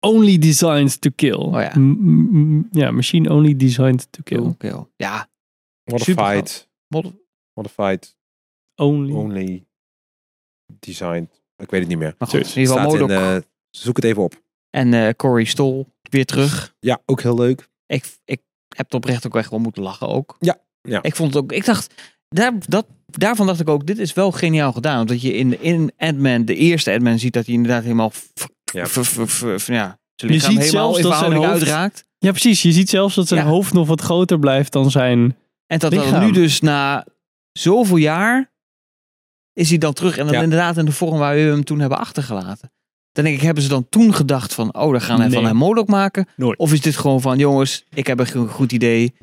Speaker 3: Only designed to kill.
Speaker 4: Oh ja.
Speaker 3: M- m- m- ja, machine only designed to kill.
Speaker 4: Kill, Kill. Ja, Super Hmm.
Speaker 5: modified,
Speaker 4: Mod-
Speaker 5: modified
Speaker 3: Only.
Speaker 5: Only Designed. Ik weet het niet meer.
Speaker 4: maar goed. In ieder geval
Speaker 5: Staat in,
Speaker 4: Modok.
Speaker 5: eh, zoek het even op.
Speaker 4: En eh Corey Stol weer terug.
Speaker 5: Ja, ook heel leuk.
Speaker 4: Ik, ik heb het oprecht ook echt wel moeten lachen ook.
Speaker 5: Ja, ja.
Speaker 4: Ik vond het ook. Ik dacht, daar, dat, daarvan dacht ik ook, dit is wel geniaal gedaan. Omdat je in, in Ant-Man, de eerste Ant-Man, ziet dat hij inderdaad helemaal. v-
Speaker 5: Ja.
Speaker 4: v- v- v- v- ja, zijn
Speaker 3: Je
Speaker 4: lichaam
Speaker 3: ziet
Speaker 4: helemaal
Speaker 3: zelfs
Speaker 4: in
Speaker 3: dat zijn
Speaker 4: verhouding
Speaker 3: hoofd-
Speaker 4: uitraakt.
Speaker 3: Ja, precies. Je ziet zelfs dat zijn
Speaker 4: Ja.
Speaker 3: hoofd nog wat groter blijft dan zijn.
Speaker 4: En dat, dat
Speaker 3: Lichaam.
Speaker 4: nu dus na zoveel jaar is hij dan terug. En dan
Speaker 5: Ja.
Speaker 4: inderdaad in de vorm waar we hem toen hebben achtergelaten. Dan denk ik, hebben ze dan toen gedacht van, oh, dan gaan we
Speaker 3: Nee.
Speaker 4: van hem Modok maken?
Speaker 3: Nooit.
Speaker 4: Of is dit gewoon van, jongens, ik heb echt een goed idee.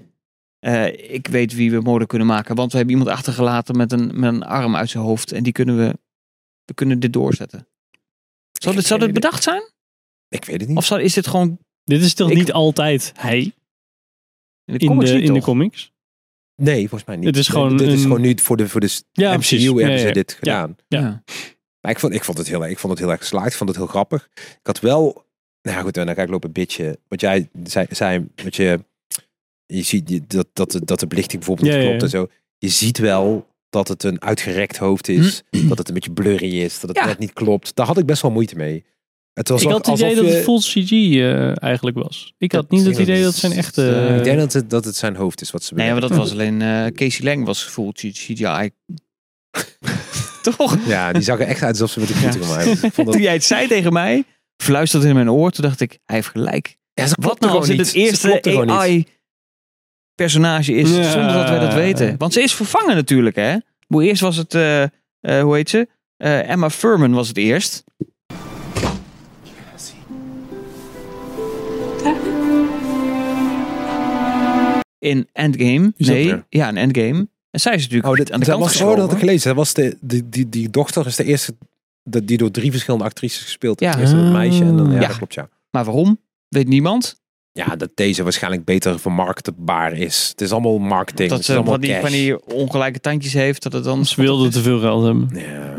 Speaker 4: Eh, ik weet wie we Modok kunnen maken. Want we hebben iemand achtergelaten met een, met een arm uit zijn hoofd. En die kunnen we, we kunnen dit doorzetten. Zou dit, zou dit bedacht zijn?
Speaker 5: Ik weet het niet.
Speaker 4: Of zou, is dit gewoon
Speaker 3: Dit is toch
Speaker 4: Ik-
Speaker 3: niet altijd hij
Speaker 4: in de
Speaker 3: in,
Speaker 4: comics?
Speaker 3: de,
Speaker 4: niet,
Speaker 3: in de
Speaker 4: toch?
Speaker 3: comics?
Speaker 5: Nee, volgens mij niet.
Speaker 3: Het is
Speaker 5: Nee,
Speaker 3: gewoon
Speaker 5: dit is
Speaker 3: een-
Speaker 5: gewoon niet voor de, voor de s-
Speaker 3: Ja,
Speaker 5: MCU
Speaker 3: precies.
Speaker 5: hebben
Speaker 3: Ja,
Speaker 5: ze
Speaker 3: ja.
Speaker 5: dit gedaan.
Speaker 3: Ja.
Speaker 4: Ja.
Speaker 5: Maar ik vond, ik, vond het heel, ik vond het heel erg geslaagd. Ik vond het heel grappig. Ik had wel... Nou ja, goed, en dan ga ik lopen bitchen. Wat jij zei, zei wat je, je ziet die- dat, dat, de- dat de belichting bijvoorbeeld
Speaker 3: Ja,
Speaker 5: niet
Speaker 3: ja,
Speaker 5: klopt en zo. Je ziet wel dat het een uitgerekt hoofd is.
Speaker 3: Mm.
Speaker 5: Dat het een beetje blurry is. Dat het
Speaker 4: Ja.
Speaker 5: net niet klopt. Daar had ik best wel moeite mee. Het was
Speaker 3: Ik
Speaker 5: ook
Speaker 3: had het
Speaker 5: alsof
Speaker 3: idee dat
Speaker 5: je-
Speaker 3: het full CG eh, eigenlijk was. Ik had niet het idee dat het zijn echte...
Speaker 4: eh,
Speaker 5: Ik denk dat het, dat het zijn hoofd is wat ze
Speaker 4: Nee, maar dat
Speaker 5: bewerken.
Speaker 4: was alleen eh, Casey Lang was full
Speaker 3: <laughs>
Speaker 4: CGI. Toch?
Speaker 5: Ja, die zag er echt uit alsof ze met de computer gemaakt hebben. Ik
Speaker 4: <laughs>
Speaker 5: vond dat-
Speaker 4: Toen jij het zei tegen mij, fluisterde in mijn oor. Toen dacht ik, hij heeft gelijk.
Speaker 5: Ja, ze
Speaker 4: Wat
Speaker 5: klopte
Speaker 4: nou
Speaker 5: gewoon
Speaker 4: als dit
Speaker 5: niet.
Speaker 4: het
Speaker 5: Ze klopte
Speaker 4: eerste
Speaker 5: gewoon niet.
Speaker 4: AI-personage is,
Speaker 3: Ja.
Speaker 4: zonder dat wij dat weten? Want ze is vervangen natuurlijk, hè? Maar eerst was het, eh, eh, hoe heet ze? Eh, Emma Furman was het eerst. In Endgame.
Speaker 5: Is dat
Speaker 4: Nee,
Speaker 5: er?
Speaker 4: ja, in Endgame. En zij is natuurlijk
Speaker 5: Oh, dit,
Speaker 4: aan de
Speaker 5: dat
Speaker 4: kant
Speaker 5: was, oh, dat had ik
Speaker 4: geschoven.
Speaker 5: gelezen. Dat was de, die, die, die dochter is de eerste de- die door drie verschillende actrices gespeeld
Speaker 4: Ja.
Speaker 5: is. Eerst dat meisje en dan ja,
Speaker 4: Ja.
Speaker 5: dat klopt ja.
Speaker 4: Maar waarom? Weet niemand.
Speaker 5: Ja, dat deze waarschijnlijk beter vermarktbaar is. Het is allemaal marketing.
Speaker 4: dat
Speaker 5: het is
Speaker 4: ze
Speaker 5: allemaal
Speaker 4: van die,
Speaker 5: cash.
Speaker 4: van die ongelijke tandjes heeft, dat het dan...
Speaker 3: Ze wilden te veel geld hebben.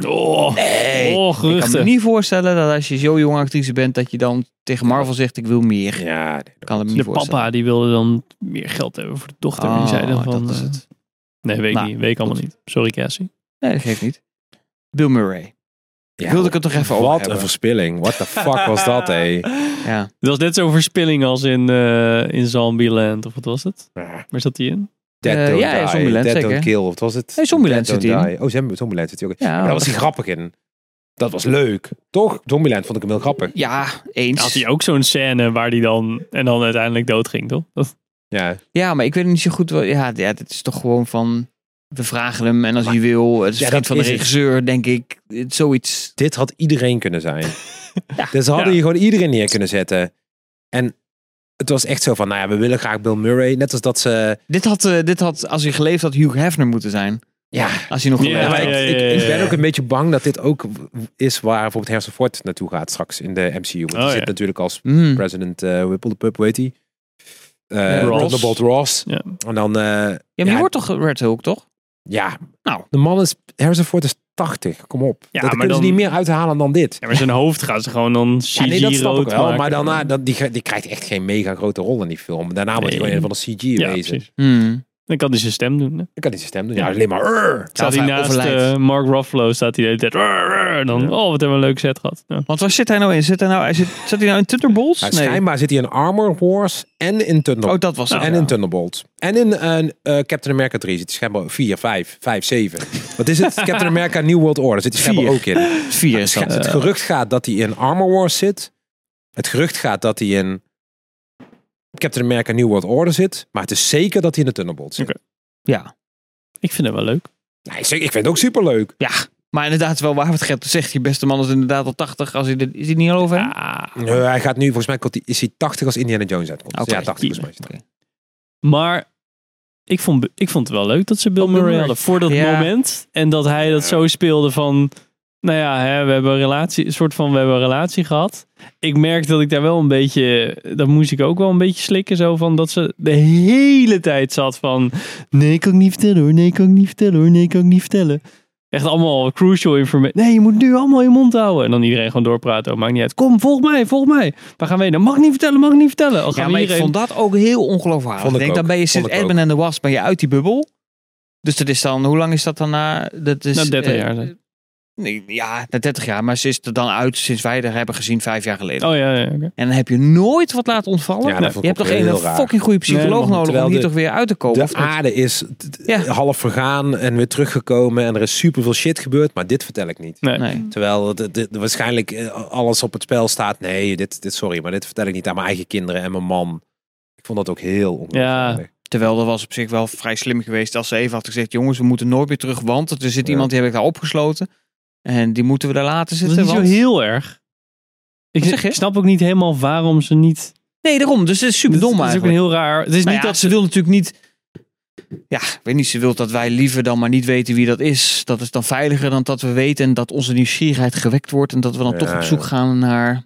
Speaker 5: Ja.
Speaker 3: Oh,
Speaker 4: Nee,
Speaker 3: oh
Speaker 4: Ik kan me
Speaker 3: geruchten.
Speaker 4: niet voorstellen dat als je zo jong actrice bent, dat je dan tegen Marvel zegt, ik wil meer. Ik
Speaker 5: Ja, nee, dat
Speaker 4: kan het me
Speaker 3: De
Speaker 4: niet voorstellen.
Speaker 3: papa die wilde dan meer geld hebben voor de dochter. en die zei dan
Speaker 4: Oh,
Speaker 3: van...
Speaker 4: dat is
Speaker 3: eh,
Speaker 4: het.
Speaker 3: Nee, weet ik
Speaker 4: Nou,
Speaker 3: niet. Weet ik allemaal
Speaker 4: goed.
Speaker 3: niet. Sorry Cassie.
Speaker 4: Nee, dat geeft niet. Bill Murray.
Speaker 5: Ja,
Speaker 4: Wilde ik het toch even over
Speaker 5: Wat
Speaker 4: hebben.
Speaker 5: een verspilling. What the fuck
Speaker 4: <laughs>
Speaker 5: was dat, hé?
Speaker 4: Ja.
Speaker 3: Het was net zo'n verspilling als in, eh in Zombieland. Of wat was het?
Speaker 5: Ja.
Speaker 3: Waar zat hij in?
Speaker 5: Dead
Speaker 4: Eh,
Speaker 5: Don't
Speaker 4: ja, ja,
Speaker 5: Die,
Speaker 4: Zombieland,
Speaker 5: Dead Don't
Speaker 4: zeker.
Speaker 5: Kill, wat was het?
Speaker 4: Nee, Zombieland
Speaker 5: Dead
Speaker 4: zit
Speaker 5: Don't
Speaker 4: hij
Speaker 5: Die. Oh, Zomb- Zombieland zit hij ook in.
Speaker 4: Ja,
Speaker 5: Maar daar was hij grappig in. Dat was leuk. Toch? Zombieland vond ik hem heel grappig.
Speaker 4: ja,
Speaker 3: Had
Speaker 4: eens.
Speaker 3: hij ook zo'n scène waar die dan en dan uiteindelijk doodging, toch? Dat,
Speaker 5: Ja.
Speaker 4: Ja, maar ik weet niet zo goed. Wat, ja, ja, dit is toch gewoon van. we vragen hem en als hij wil, het is
Speaker 5: Ja,
Speaker 4: vriend van
Speaker 5: dat
Speaker 4: de
Speaker 5: is het.
Speaker 4: regisseur, denk ik. Het- Zoiets.
Speaker 5: Dit had iedereen kunnen zijn.
Speaker 4: Ja.
Speaker 5: Dus ze hadden
Speaker 3: Ja.
Speaker 5: hier gewoon iedereen neer kunnen zetten. En het was echt zo van, nou ja, we willen graag Bill Murray. Net als dat ze...
Speaker 4: Dit had, eh, dit had, als hij geleefd had, Hugh Hefner moeten zijn.
Speaker 5: Ja,
Speaker 4: Als hij nog
Speaker 3: Ja,
Speaker 4: geleefd
Speaker 5: Ja, maar
Speaker 4: had.
Speaker 5: ik,
Speaker 3: ja,
Speaker 5: ik,
Speaker 3: ja,
Speaker 5: ik
Speaker 3: ja,
Speaker 5: ben
Speaker 3: ja.
Speaker 5: ook een beetje bang dat dit ook is waar bijvoorbeeld Harrison Ford naartoe gaat straks in de MCU. Want
Speaker 3: Oh,
Speaker 5: hij
Speaker 3: ja.
Speaker 5: zit natuurlijk als
Speaker 3: Hm.
Speaker 4: Mm.
Speaker 5: president eh Whipple the Pup, weet hij. Eh
Speaker 3: Ross.
Speaker 5: Thunderbolt Ross.
Speaker 3: Ja.
Speaker 5: En dan, eh,
Speaker 4: Ja, maar
Speaker 5: Ja.
Speaker 4: je wordt toch Red Hulk, toch?
Speaker 5: ja.
Speaker 4: Nou.
Speaker 5: De man is, Harrison Ford is 80, kom op.
Speaker 3: Ja,
Speaker 5: dat
Speaker 3: maar
Speaker 5: kunnen ze
Speaker 3: dan-
Speaker 5: niet meer uithalen dan dit.
Speaker 3: Ja, maar zijn hoofd gaat ze gewoon dan CG
Speaker 5: Ja, nee, dat snap ik
Speaker 3: rood
Speaker 5: wel.
Speaker 3: maken.
Speaker 5: Maar eh, daarna, dat, die, die krijgt echt geen mega grote rol in die film. Daarna wordt hij
Speaker 3: Nee.
Speaker 5: gewoon een van de CG
Speaker 3: Ja,
Speaker 5: wezen.
Speaker 3: precies.
Speaker 5: Hmm.
Speaker 3: Dan kan hij zijn stem doen. Hè?
Speaker 5: Ik kan niet zijn stem doen.
Speaker 3: Ja.
Speaker 5: Ja, alleen maar... "Urgh."
Speaker 3: Staat hij
Speaker 4: hij
Speaker 3: naast
Speaker 4: overlijdt.
Speaker 3: eh, Mark Ruffalo, staat hij de hele tijd... "Rrr, rrr," en Dan, oh, wat hebben we een leuke set gehad. Ja.
Speaker 4: Want waar zit hij nou in? Zit hij nou, hij zit, zit hij nou in Thunderbolts?
Speaker 5: Ja, Schijnbaar zit hij in Armor Wars en in Thunder
Speaker 4: Oh, dat was het.
Speaker 3: Nou,
Speaker 5: en
Speaker 4: Ja.
Speaker 5: in Thunderbolt. En in eh, eh, Captain America 3 zit hij schijnbaar 4, 5, 5, 7. Wat is
Speaker 3: <laughs>
Speaker 5: het? Captain America New World Order zit hij schijnbaar ook in.
Speaker 4: Vier is
Speaker 5: Scha-
Speaker 4: dat. eh.
Speaker 5: het gerucht gaat dat hij in Armor Wars zit. Het gerucht gaat dat hij in Captain America New World Order zit. Maar het is zeker dat hij in de Thunderbolt zit.
Speaker 3: Oké.
Speaker 4: Ja.
Speaker 3: Ik vind dat wel leuk.
Speaker 5: Nee, zeker, ik vind het ook superleuk.
Speaker 4: ja. Maar inderdaad, wel waar wat Gert zegt. Je beste man is inderdaad al 80. Als hij dit, is hij niet al over hem?
Speaker 3: Ah.
Speaker 5: Nee, Eh, hij gaat nu, volgens mij komt hij- is hij 80 als Indiana Jones uitkomt.
Speaker 4: Oké.
Speaker 5: Ja, 80 volgens mij.
Speaker 4: Oké.
Speaker 3: Maar ik vond, ik vond het wel leuk dat ze Bill Murray hadden voor dat
Speaker 4: Ja.
Speaker 3: moment. En dat hij dat zo speelde van... Nou ja, hè, we hebben een relatie, een soort van we hebben een relatie gehad. Ik merkte dat ik daar wel een beetje, dat moest ik ook wel een beetje slikken. Zo van dat ze de hele tijd zat van, nee kan ik niet vertellen hoor, nee kan ik niet vertellen hoor, nee kan ik niet vertellen. Echt allemaal crucial informatie. Nee, je moet nu allemaal je mond houden. En dan iedereen gewoon doorpraten. Oh, maakt niet uit. Kom, volg mij, volg mij. Waar gaan we heen? Dat mag ik niet vertellen, mag ik niet vertellen. Oh, gaan
Speaker 4: Ja,
Speaker 3: we
Speaker 4: maar ik
Speaker 3: hierheen?
Speaker 4: vond dat ook heel ongeloofwaardig.
Speaker 5: Vond
Speaker 4: ik
Speaker 5: ik
Speaker 4: denk, dan
Speaker 5: ook.
Speaker 4: ben je
Speaker 5: Vond
Speaker 4: sinds
Speaker 5: ik ook.
Speaker 4: Edmund en de Was ben je uit die bubbel. Dus dat is dan, hoe lang is dat dan na? Dat is,
Speaker 3: Na 30
Speaker 4: eh,
Speaker 3: jaar, zeg.
Speaker 4: nee, ja, na 30 jaar. Maar ze is er dan uit sinds wij er hebben gezien vijf jaar geleden.
Speaker 3: Oh ja, ja oké.
Speaker 4: En dan heb je nooit wat laten ontvallen.
Speaker 5: Ja, dat vond ik
Speaker 4: je hebt
Speaker 5: ook
Speaker 4: toch een
Speaker 5: heel raar.
Speaker 4: fucking goede
Speaker 3: Nee, dat
Speaker 4: psycholoog
Speaker 3: mag
Speaker 5: niet.
Speaker 4: nodig om
Speaker 5: Terwijl
Speaker 4: hier
Speaker 5: de-
Speaker 4: toch weer uit te Ah, komen. of
Speaker 5: De
Speaker 4: niet?
Speaker 5: Oh. aarde is t- t-
Speaker 4: Ja.
Speaker 5: half vergaan en weer teruggekomen. En er is super veel shit gebeurd, maar dit vertel ik niet.
Speaker 3: Nee.
Speaker 4: Nee.
Speaker 5: Terwijl het- het- het- waarschijnlijk eh, alles op het spel staat. Nee, dit, dit, sorry, maar dit vertel ik niet aan mijn eigen kinderen en mijn man. Ik vond dat ook heel ongelooflijk.
Speaker 4: Terwijl dat was op zich wel vrij slim geweest als ze even had gezegd: jongens, we moeten nooit meer terug, want er zit
Speaker 5: Ja.
Speaker 4: iemand die heb ik daar opgesloten. En die moeten we daar laten
Speaker 3: Dat is
Speaker 4: zitten.
Speaker 3: niet zo
Speaker 4: want-
Speaker 3: heel erg. Ik,
Speaker 4: Wat zeg je?
Speaker 3: ik snap ook niet helemaal waarom ze niet...
Speaker 4: Nee, daarom. Dus het is super dom
Speaker 3: Het is ook
Speaker 4: eigenlijk.
Speaker 3: een heel raar... Het is
Speaker 4: Nou
Speaker 3: niet
Speaker 4: ja,
Speaker 3: dat ze...
Speaker 4: ze wil natuurlijk niet. Ja, ik weet niet. Ze wil dat wij liever dan maar niet weten wie dat is. Dat is dan veiliger dan dat we weten en dat onze nieuwsgierigheid gewekt wordt en dat we dan
Speaker 5: Ja,
Speaker 4: toch op
Speaker 5: ja.
Speaker 4: zoek gaan naar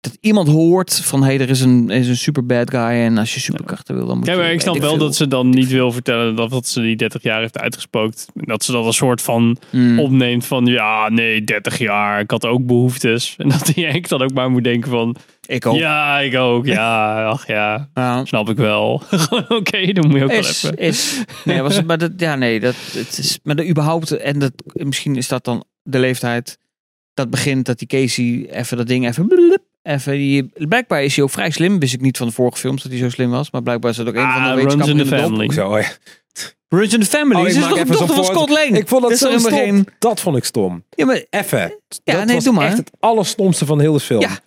Speaker 4: dat iemand hoort van hé, hey, er is een er is een super bad guy en als je superkrachten wil dan moet
Speaker 3: Ja,
Speaker 4: je.
Speaker 3: maar ik snap wel dat ze dan niet wil vertellen dat wat ze die 30 jaar heeft uitgespookt. Dat ze dat een soort van
Speaker 4: Mm.
Speaker 3: opneemt van ja, nee, 30 jaar, ik had ook behoeftes. <laughs> En dat die Henk dan ook maar moet denken van
Speaker 4: Ik ook.
Speaker 3: ja, ik ook,
Speaker 4: <laughs>
Speaker 3: ja, ach ja,
Speaker 4: Ja.
Speaker 3: snap ik wel. <laughs> Gewoon oké, dan moet je ook
Speaker 4: Is,
Speaker 3: wel even.
Speaker 4: is. Nee, was het, maar dat, ja, nee, dat, het is, maar dat überhaupt, en dat, misschien is dat dan de leeftijd, dat begint dat die Casey even dat ding even, blup, even die, blijkbaar is hij ook vrij slim, wist ik niet van de vorige films dat hij zo slim was, maar blijkbaar is dat ook een van de
Speaker 3: Ah, runs
Speaker 4: wetenschappers
Speaker 3: in the
Speaker 4: de dop.
Speaker 5: Ik
Speaker 3: family.
Speaker 5: zo, oh ja.
Speaker 4: Runs in the Family,
Speaker 5: Oh, ik
Speaker 4: ze is
Speaker 5: maak
Speaker 4: toch een
Speaker 5: even zo'n
Speaker 4: dochter van
Speaker 5: voort-
Speaker 4: Scott Lane?
Speaker 5: Ik vond dat
Speaker 4: Is
Speaker 5: zo
Speaker 4: er
Speaker 5: stom.
Speaker 4: helemaal geen,
Speaker 5: Dat vond ik stom.
Speaker 4: ja, maar,
Speaker 5: Even. dat
Speaker 4: nee,
Speaker 5: was
Speaker 4: doe maar.
Speaker 5: echt het allerstomste van heel de film.
Speaker 4: Ja.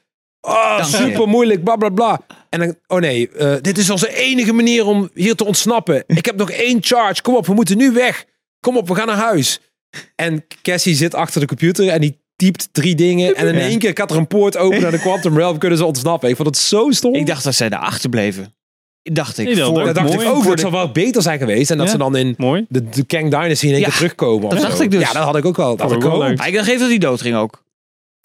Speaker 5: Oh,
Speaker 4: Dank je.
Speaker 5: super moeilijk, bla bla bla. En dan, oh nee, eh, dit is onze enige manier om hier te ontsnappen. Ik heb nog één charge. Kom op, we moeten nu weg. Kom op, we gaan naar huis. En Cassie zit achter de computer en die typt drie dingen. En in
Speaker 4: Ja.
Speaker 5: één keer gaat er een poort open naar de Quantum Realm. Kunnen ze ontsnappen? Ik vond het zo stom.
Speaker 4: ik dacht dat zij daarachter bleven. Dacht ik.
Speaker 3: Nee, dat
Speaker 4: voor-
Speaker 3: ook
Speaker 5: dat dacht ik
Speaker 3: mooi.
Speaker 5: ook.
Speaker 4: voor
Speaker 5: Dat
Speaker 4: de-
Speaker 5: zou wel beter zijn geweest. En dat
Speaker 3: Ja.
Speaker 5: ze dan in
Speaker 3: Mooi.
Speaker 5: de, de Kang Dynasty in één
Speaker 4: Ja,
Speaker 5: keer terugkomen.
Speaker 4: dat
Speaker 5: of zo.
Speaker 4: dacht ik dus.
Speaker 5: Ja, dat had ik ook wel. Dat had
Speaker 3: Vond ik
Speaker 5: ik
Speaker 3: wel
Speaker 5: ook.
Speaker 3: leuk.
Speaker 4: Maar Ah, ik dacht even dat hij dood ging ook.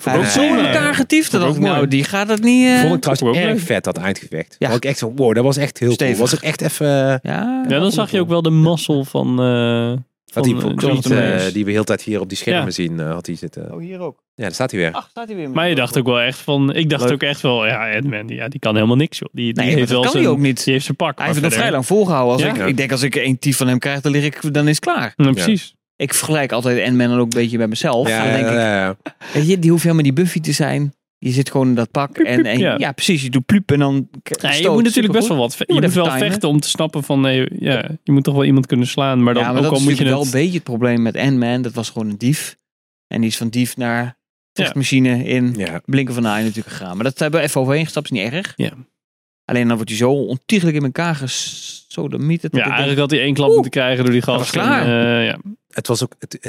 Speaker 4: Hij
Speaker 3: ook
Speaker 4: heeft zo in
Speaker 3: mooi.
Speaker 4: elkaar getiefd. Dat dacht
Speaker 3: Vond ik
Speaker 4: ik,
Speaker 3: ook
Speaker 4: nou,
Speaker 3: mooi.
Speaker 4: die gaat dat niet... eh,
Speaker 5: Vond ik
Speaker 3: Vond
Speaker 5: trouwens
Speaker 3: ik ook
Speaker 5: erg
Speaker 3: leuk.
Speaker 5: vet, dat eindgevecht.
Speaker 4: Ja.
Speaker 5: Ja. ik echt zo, wow, dat was echt heel
Speaker 4: Stevig.
Speaker 5: cool. Was ook echt even... eh,
Speaker 4: Ja,
Speaker 3: Ja, dan zag je ook wel de mazzel van, eh
Speaker 5: Had
Speaker 3: van
Speaker 5: die
Speaker 3: eh,
Speaker 5: hypocriet
Speaker 3: Jonathan
Speaker 5: eh,
Speaker 3: Majors.
Speaker 5: die we heel de tijd hier op die schermen
Speaker 3: Ja.
Speaker 5: zien, eh, had hij zitten.
Speaker 4: Oh, hier ook.
Speaker 5: Ja, daar staat hij weer.
Speaker 4: Ach, staat hij weer.
Speaker 3: Maar je dacht ook wel echt van, ik dacht
Speaker 5: Leuk.
Speaker 3: ook echt wel, ja, Edman, die- ja, die kan helemaal niks, joh. Die, die
Speaker 4: Nee, maar
Speaker 3: heeft
Speaker 4: dat
Speaker 3: wel
Speaker 4: kan
Speaker 3: zijn,
Speaker 4: hij ook niet.
Speaker 3: Die heeft zijn pak.
Speaker 4: Hij
Speaker 3: maar
Speaker 4: heeft het nog vrij
Speaker 3: verder-
Speaker 4: lang volgehouden. Als
Speaker 3: Ja.
Speaker 4: ik, ik denk als ik er één tief van hem krijg, dan, lig ik, dan is het klaar.
Speaker 3: Ja,
Speaker 5: Ja.
Speaker 3: precies.
Speaker 4: Ik vergelijk altijd Ant-Man dan ook een beetje bij mezelf.
Speaker 5: Ja,
Speaker 4: dan denk
Speaker 5: ja,
Speaker 4: ik,
Speaker 5: ja, ja.
Speaker 4: weet je, die hoeft helemaal niet Buffy te zijn. Je zit gewoon in dat pak. en,
Speaker 3: piep,
Speaker 4: en- ja.
Speaker 3: ja.
Speaker 4: precies. Je doet plup en dan k-
Speaker 3: Nee, je
Speaker 4: stoot.
Speaker 3: moet natuurlijk best
Speaker 4: Supergoed.
Speaker 3: wel wat. ve-
Speaker 4: Je
Speaker 3: Je
Speaker 4: moet
Speaker 3: moet
Speaker 4: even
Speaker 3: wel
Speaker 4: timen.
Speaker 3: vechten om te snappen van nee, ja, je moet toch wel iemand kunnen slaan. Maar dan
Speaker 4: ja, maar
Speaker 3: ook
Speaker 4: dat
Speaker 3: al
Speaker 4: is
Speaker 3: moet je
Speaker 4: natuurlijk wel
Speaker 3: het.
Speaker 4: een beetje het probleem met Ant-Man. Dat was gewoon een dief. En die is van dief naar vechtmachine in
Speaker 5: Ja.
Speaker 4: blinken van de eye natuurlijk gegaan. Maar dat hebben we even overheen gestapt. Is niet erg.
Speaker 3: Ja.
Speaker 4: Alleen dan wordt hij zo ontiegelijk in elkaar gesodemieterd. dat
Speaker 3: Ja,
Speaker 4: ik denk,
Speaker 3: eigenlijk had hij één klap
Speaker 4: Oeh.
Speaker 3: moeten krijgen door die
Speaker 4: was
Speaker 3: gast.
Speaker 4: klaar.
Speaker 3: En, eh, ja.
Speaker 5: Het was ook. Het, het,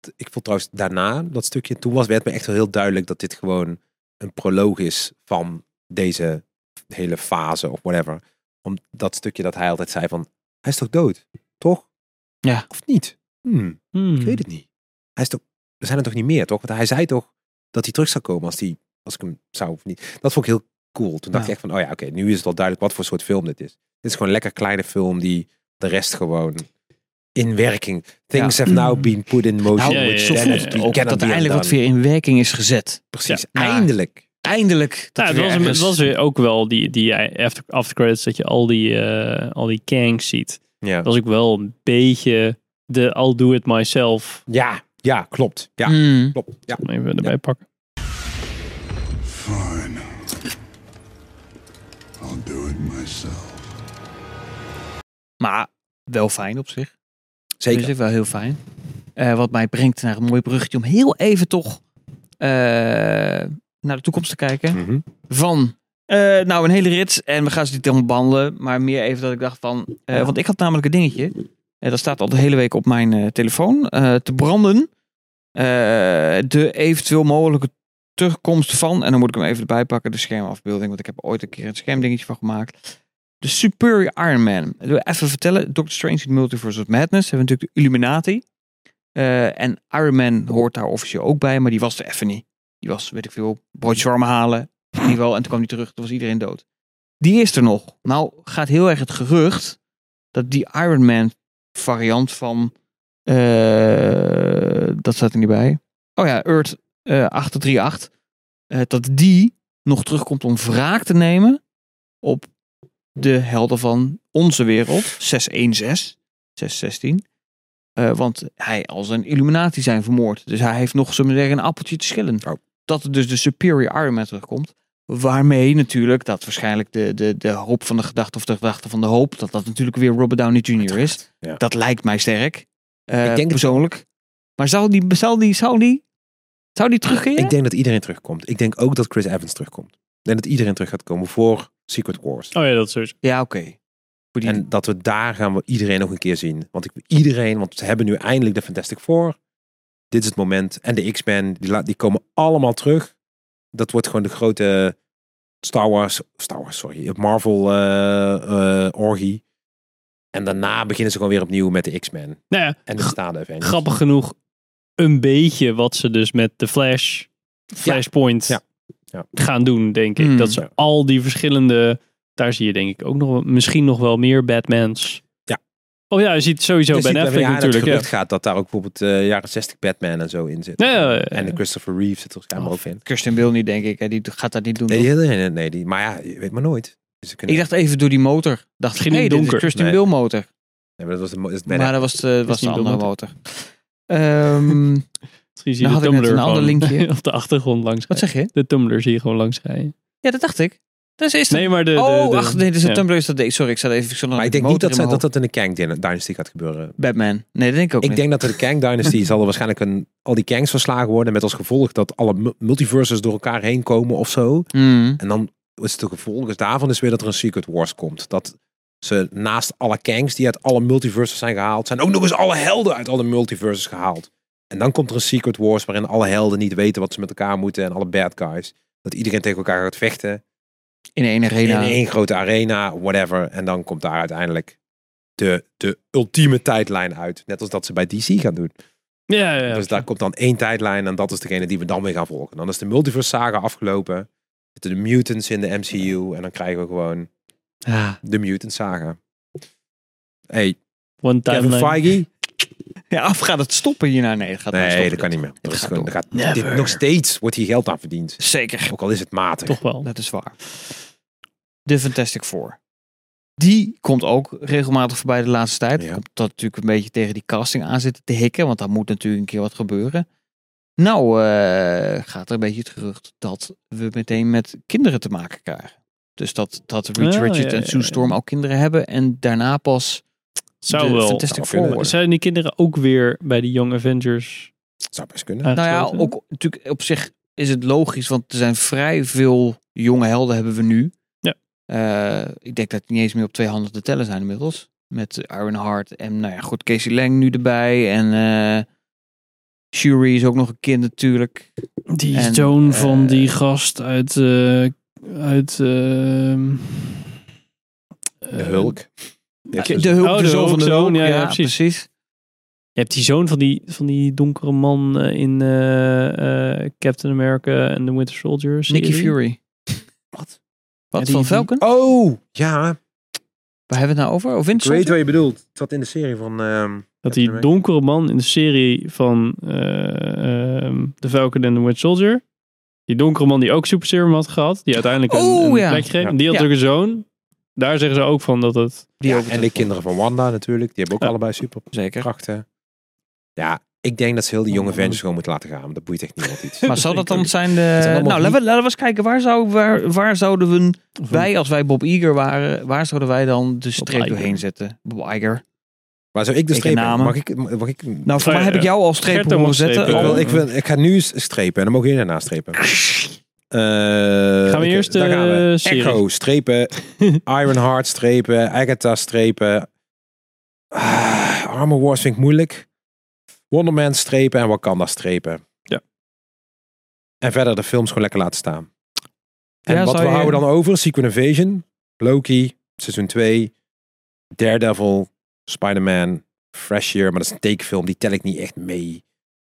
Speaker 5: het- ik vond trouwens daarna dat stukje. Toen was, werd me echt wel heel duidelijk dat dit gewoon een proloog is van deze hele fase of whatever. Om dat stukje dat hij altijd zei van. Hij is toch dood? Toch?
Speaker 4: Ja.
Speaker 5: Of niet? Hmm.
Speaker 3: Hmm.
Speaker 5: Ik weet het niet. Hij is toch, er zijn er toch niet meer, toch? Want hij zei toch dat hij terug zou komen als, die, als ik hem zou of niet. Dat vond ik heel cool. Toen dacht
Speaker 4: Ja.
Speaker 5: ik echt van, oh ja, oké, nu is het al duidelijk wat voor soort film dit is. Dit is gewoon een lekker kleine film die de rest gewoon in werking. Things have now been put in motion.
Speaker 4: nou,
Speaker 3: Ja, ja,
Speaker 5: which
Speaker 3: ja, ja,
Speaker 5: then
Speaker 3: ja.
Speaker 5: it
Speaker 4: ook
Speaker 5: cannot
Speaker 4: dat
Speaker 5: be
Speaker 4: er eindelijk wat
Speaker 5: undone.
Speaker 4: weer in werking is gezet.
Speaker 5: Precies,
Speaker 4: Ja.
Speaker 5: eindelijk.
Speaker 4: Eindelijk.
Speaker 3: Ja,
Speaker 4: dat
Speaker 3: Nou, het
Speaker 4: er
Speaker 3: was,
Speaker 4: weer
Speaker 3: hem- het
Speaker 4: ergens-
Speaker 3: was weer ook wel die, die eh, after, after credits dat je al die, eh, al die kangs ziet.
Speaker 5: Ja.
Speaker 3: Dat was ook wel een beetje de I'll do it myself.
Speaker 5: ja, ja, klopt. Ja,
Speaker 4: Mm.
Speaker 5: klopt. Ja.
Speaker 3: Even erbij pakken.
Speaker 6: Fine. I'll do it myself.
Speaker 4: Maar wel fijn op zich.
Speaker 5: Zeker.
Speaker 4: Dus ik wel heel fijn. Eh, wat mij brengt naar een mooi bruggetje om heel even toch eh, naar de toekomst te kijken.
Speaker 5: Mhm.
Speaker 4: Van, eh, nou een hele rit. En we gaan ze niet helemaal behandelen. Maar meer even dat ik dacht van, eh, want ik had namelijk een dingetje. Eh, dat staat al de hele week op mijn eh, telefoon. eh, te branden. Eh, de eventueel mogelijke terugkomst van. En dan moet ik hem even erbij pakken, de schermafbeelding. Want ik heb er ooit een keer een schermdingetje van gemaakt. De Superior Iron Man. Ik wil Even vertellen, Doctor Strange in the Multiverse of Madness. Hebben we natuurlijk de Illuminati. Eh, en Iron Man hoort daar officieel ook bij, maar die was er even niet. Die was, weet ik veel, broodjes warm halen. In ieder geval, en toen kwam die terug, toen was iedereen dood. Die is er nog. Nou gaat heel erg het gerucht dat die Iron Man variant van... eh, dat staat er niet bij. Oh ja, Earth eh 838. eh, dat die nog terugkomt om wraak te nemen op de helden van onze wereld, 616, 616. Eh, want hij als een Illuminati zijn vermoord. Dus hij heeft nog zullen we zeggen, een appeltje te schillen.
Speaker 5: Oh.
Speaker 4: Dat er dus de Superior Iron Man terugkomt. Waarmee natuurlijk dat waarschijnlijk de, de, de hoop van de gedachte of de gedachte van de hoop, dat dat natuurlijk weer Robert Downey Jr. is.
Speaker 5: ja.
Speaker 4: Dat lijkt mij sterk. Eh,
Speaker 5: Ik denk het-
Speaker 4: persoonlijk. Maar zou die, zou die, zou die, zou die terugkeren?
Speaker 5: Ik denk dat iedereen terugkomt. Ik denk ook dat Chris Evans terugkomt. En dat iedereen terug gaat komen voor Secret Wars.
Speaker 3: Oh ja, dat soort.
Speaker 4: Ja, oké. Voor die-
Speaker 5: En dat we daar gaan we iedereen nog een keer zien. Want ik, iedereen, want ze hebben nu eindelijk de Fantastic Four. Dit is het moment. En de X-Men, die, la- die komen allemaal terug. Dat wordt gewoon de grote Star Wars, Star Wars, sorry, Marvel eh, eh, orgie. En daarna beginnen ze gewoon weer opnieuw met de X-Men.
Speaker 3: Nou ja,
Speaker 5: En de
Speaker 3: G-
Speaker 5: staande Avengers.
Speaker 3: grappig genoeg een beetje wat ze dus met de Flash, Flashpoint
Speaker 5: Ja. Ja.
Speaker 3: gaan doen, denk ik.
Speaker 4: Hmm.
Speaker 3: Dat ze al die verschillende, daar zie je denk ik ook nog, wel- misschien nog wel meer Batmans.
Speaker 5: Ja.
Speaker 3: Oh ja, je ziet sowieso
Speaker 5: Dus
Speaker 3: Ben
Speaker 5: ik ben-
Speaker 3: Affleck
Speaker 5: ja, en
Speaker 3: natuurlijk.
Speaker 5: Het
Speaker 3: Ja.
Speaker 5: gerucht gaat dat daar ook bijvoorbeeld eh, jaren 60 Batman en zo in zit.
Speaker 3: Ja, ja, ja.
Speaker 5: En de Christopher Reeve zit er waarschijnlijk ook in.
Speaker 4: Kirsten wil niet, denk ik. Hè. Die gaat dat niet doen.
Speaker 5: Nee,
Speaker 4: toch?
Speaker 5: die, nee, nee, die, maar ja, je weet maar nooit. Dus ze kunnen-
Speaker 4: Ik dacht even door die motor. Dacht
Speaker 3: Misschien
Speaker 4: geen
Speaker 3: in
Speaker 4: hey,
Speaker 3: het
Speaker 4: dit is
Speaker 3: donker.
Speaker 4: Christian
Speaker 5: Nee.
Speaker 4: Bale motor.
Speaker 5: Nee, maar dat was de, mo- dat is Ben
Speaker 4: Maar dat was de, was de
Speaker 3: Christian Bale
Speaker 4: andere motor. Ehm,
Speaker 3: Misschien zie je
Speaker 4: Nou had
Speaker 3: de
Speaker 4: ik net
Speaker 3: Tumblr
Speaker 4: een ander
Speaker 3: gewoon
Speaker 4: linkje.
Speaker 3: <laughs> op de achtergrond
Speaker 4: <laughs>
Speaker 3: langs.
Speaker 4: wat zeg je?
Speaker 3: De Tumblr zie je gewoon langs rijden.
Speaker 4: Ja, dat dacht ik. Dat is, is dat-
Speaker 3: Nee, maar de... de-
Speaker 4: oh,
Speaker 3: de-
Speaker 4: ach, nee, dus
Speaker 3: ja.
Speaker 4: de Tumblr is dat... nee, Sorry, ik zat even... Ik zat nog
Speaker 5: Maar ik
Speaker 4: met
Speaker 5: denk niet
Speaker 4: Oh, motor
Speaker 5: dat,
Speaker 4: in
Speaker 5: ze-
Speaker 4: mijn
Speaker 5: dat dat in de Kang Dyn- Dynasty gaat gebeuren.
Speaker 4: hoofd. Batman. Nee, dat denk ik ook
Speaker 5: Ik
Speaker 4: niet.
Speaker 5: denk dat er de Kang
Speaker 4: <laughs>
Speaker 5: Dynasty zal er waarschijnlijk een, al die Kangs verslagen worden. Met als gevolg dat alle mu- multiverses door elkaar heen komen of zo.
Speaker 4: Hmm.
Speaker 5: En dan is het de gevolg is daarvan is weer dat er een Secret Wars komt. Dat ze naast alle Kangs die uit alle multiverses zijn gehaald. Zijn ook nog eens alle helden uit alle multiverses gehaald. En dan komt er een Secret Wars waarin alle helden niet weten wat ze met elkaar moeten. En alle bad guys. Dat iedereen tegen elkaar gaat vechten.
Speaker 4: In één arena.
Speaker 5: in één grote arena, whatever. En dan komt daar uiteindelijk de, de ultieme tijdlijn uit. Net als dat ze bij DC gaan doen.
Speaker 3: Ja, ja, ja.
Speaker 5: dus daar komt dan één tijdlijn en dat is degene die we dan weer gaan volgen. Dan is de multiverse saga afgelopen. Zitten de mutants in de MCU en dan krijgen we gewoon
Speaker 4: Ah.
Speaker 5: de mutant saga. Hey,
Speaker 3: One
Speaker 5: Kevin
Speaker 3: timeline.
Speaker 5: Feige?
Speaker 4: Ja, of gaat het stoppen hierna? Nee, het gaat niet
Speaker 5: Nee,
Speaker 4: stoppen.
Speaker 5: dat kan niet meer. Dat is
Speaker 4: gaat
Speaker 5: gewoon,
Speaker 4: door.
Speaker 5: dat gaat, dit,
Speaker 4: Never.
Speaker 5: nog steeds wordt hier geld aan verdiend.
Speaker 4: Zeker.
Speaker 5: Ook al is het matig.
Speaker 3: Toch wel.
Speaker 4: Dat is waar. De Fantastic Four. Die komt ook regelmatig voorbij de laatste tijd.
Speaker 5: Ja.
Speaker 4: Komt dat natuurlijk een beetje tegen die casting aan zitten te hikken. Want daar moet natuurlijk een keer wat gebeuren. Nou eh, gaat er een beetje het gerucht dat we meteen met kinderen te maken krijgen. Dus dat, dat Reed
Speaker 3: Ah,
Speaker 4: Richards
Speaker 3: ja, ja,
Speaker 4: en Sue
Speaker 3: ja.
Speaker 4: Storm al kinderen hebben. En daarna pas
Speaker 3: Zou
Speaker 4: de
Speaker 3: wel.
Speaker 4: Fantastic
Speaker 5: Zou
Speaker 4: Four
Speaker 5: kunnen.
Speaker 4: worden.
Speaker 3: Zijn die kinderen ook weer bij die Young Avengers
Speaker 5: Zou best kunnen.
Speaker 4: Nou ja,
Speaker 3: aangesloten?
Speaker 4: ook natuurlijk op zich is het logisch. Want er zijn vrij veel jonge helden hebben we nu.
Speaker 3: Ja.
Speaker 4: Eh, ik denk dat het niet eens meer op twee handen te tellen zijn inmiddels. Met Aaron Hart en nou ja, goed, Casey Lang nu erbij. En eh Shuri is ook nog een kind natuurlijk.
Speaker 3: Die
Speaker 4: En,
Speaker 3: zoon van
Speaker 4: eh,
Speaker 3: die gast uit. eh, uit ehm,
Speaker 5: De
Speaker 3: eh,
Speaker 5: Hulk. Ja, dus-
Speaker 4: De, hulp,
Speaker 3: Oh,
Speaker 4: de,
Speaker 3: de
Speaker 4: zoon van de
Speaker 3: hulpzoon,
Speaker 4: hulp. Ja,
Speaker 3: ja, ja,
Speaker 4: precies.
Speaker 3: precies. Je hebt die zoon van die, van die donkere man eh, in eh, eh, Captain America en The Winter Soldier.
Speaker 4: Nicky
Speaker 3: serie.
Speaker 4: Fury.
Speaker 5: Wat?
Speaker 4: Wat,
Speaker 3: Ja, die-
Speaker 4: van
Speaker 3: die-
Speaker 4: Falcon?
Speaker 5: Oh, ja.
Speaker 4: Waar hebben we het nou over? Of
Speaker 5: Ik weet
Speaker 4: Winter
Speaker 5: wat je bedoelt. Dat in de serie van... ehm,
Speaker 3: Dat die
Speaker 5: Captain
Speaker 3: donkere man in de serie van eh, ehm, The Falcon en The Winter Soldier. Die donkere man die ook Super Serum had gehad. Die uiteindelijk een,
Speaker 4: Oh,
Speaker 3: een
Speaker 4: ja.
Speaker 3: plek kreeg.
Speaker 5: Ja.
Speaker 3: Die had
Speaker 4: Ja.
Speaker 3: natuurlijk een zoon. Daar zeggen ze ook van dat het...
Speaker 4: Die
Speaker 5: Ja,
Speaker 4: ook
Speaker 5: en de kinderen van Wanda natuurlijk. Die hebben ook
Speaker 3: Ja.
Speaker 5: allebei superkrachten.
Speaker 4: Zeker.
Speaker 5: Ja, ik denk dat ze heel die jonge Avengers gewoon moeten laten gaan. want Dat boeit echt niemand iets.
Speaker 4: <laughs> Maar zal dat dan zijn
Speaker 5: Het zijn
Speaker 4: de...
Speaker 5: allemaal
Speaker 4: Nou, laten we, laten we eens kijken. Waar, zou, waar, waar zouden we,
Speaker 3: Of
Speaker 4: wij, als wij Bob Iger waren, waar zouden wij dan de streep
Speaker 3: Iger.
Speaker 4: doorheen zetten? Bob Iger.
Speaker 5: Waar zou ik de
Speaker 4: Ik
Speaker 5: streep
Speaker 4: namen.
Speaker 5: Mag ik... Mag ik
Speaker 4: Nou, voor
Speaker 3: Ja,
Speaker 4: mij heb
Speaker 3: ja.
Speaker 4: ik jou al streep
Speaker 3: Gert
Speaker 4: horen
Speaker 3: mag
Speaker 4: zetten.
Speaker 5: ik,
Speaker 3: strepen.
Speaker 4: al-
Speaker 5: wil, ik, wil, ik ga nu eens strepen en dan mogen jullie daarna strepen. Eh,
Speaker 3: Gaan we
Speaker 5: ik-
Speaker 3: eerst eh,
Speaker 5: daar gaan we.
Speaker 3: de serie?
Speaker 5: Echo
Speaker 3: <laughs>
Speaker 5: strepen, Ironheart strepen, Agatha strepen. Ah, Armor Wars vind ik moeilijk. Wonder Man strepen en Wakanda strepen.
Speaker 3: Ja.
Speaker 5: En verder de films gewoon lekker laten staan. En
Speaker 4: Ja,
Speaker 5: wat
Speaker 4: zou
Speaker 5: we
Speaker 4: je-
Speaker 5: houden dan over? Secret Invasion, Loki, seizoen 2, Daredevil, Spider-Man, Fresh Year. Maar dat is een tekenfilm, die tel ik niet echt mee.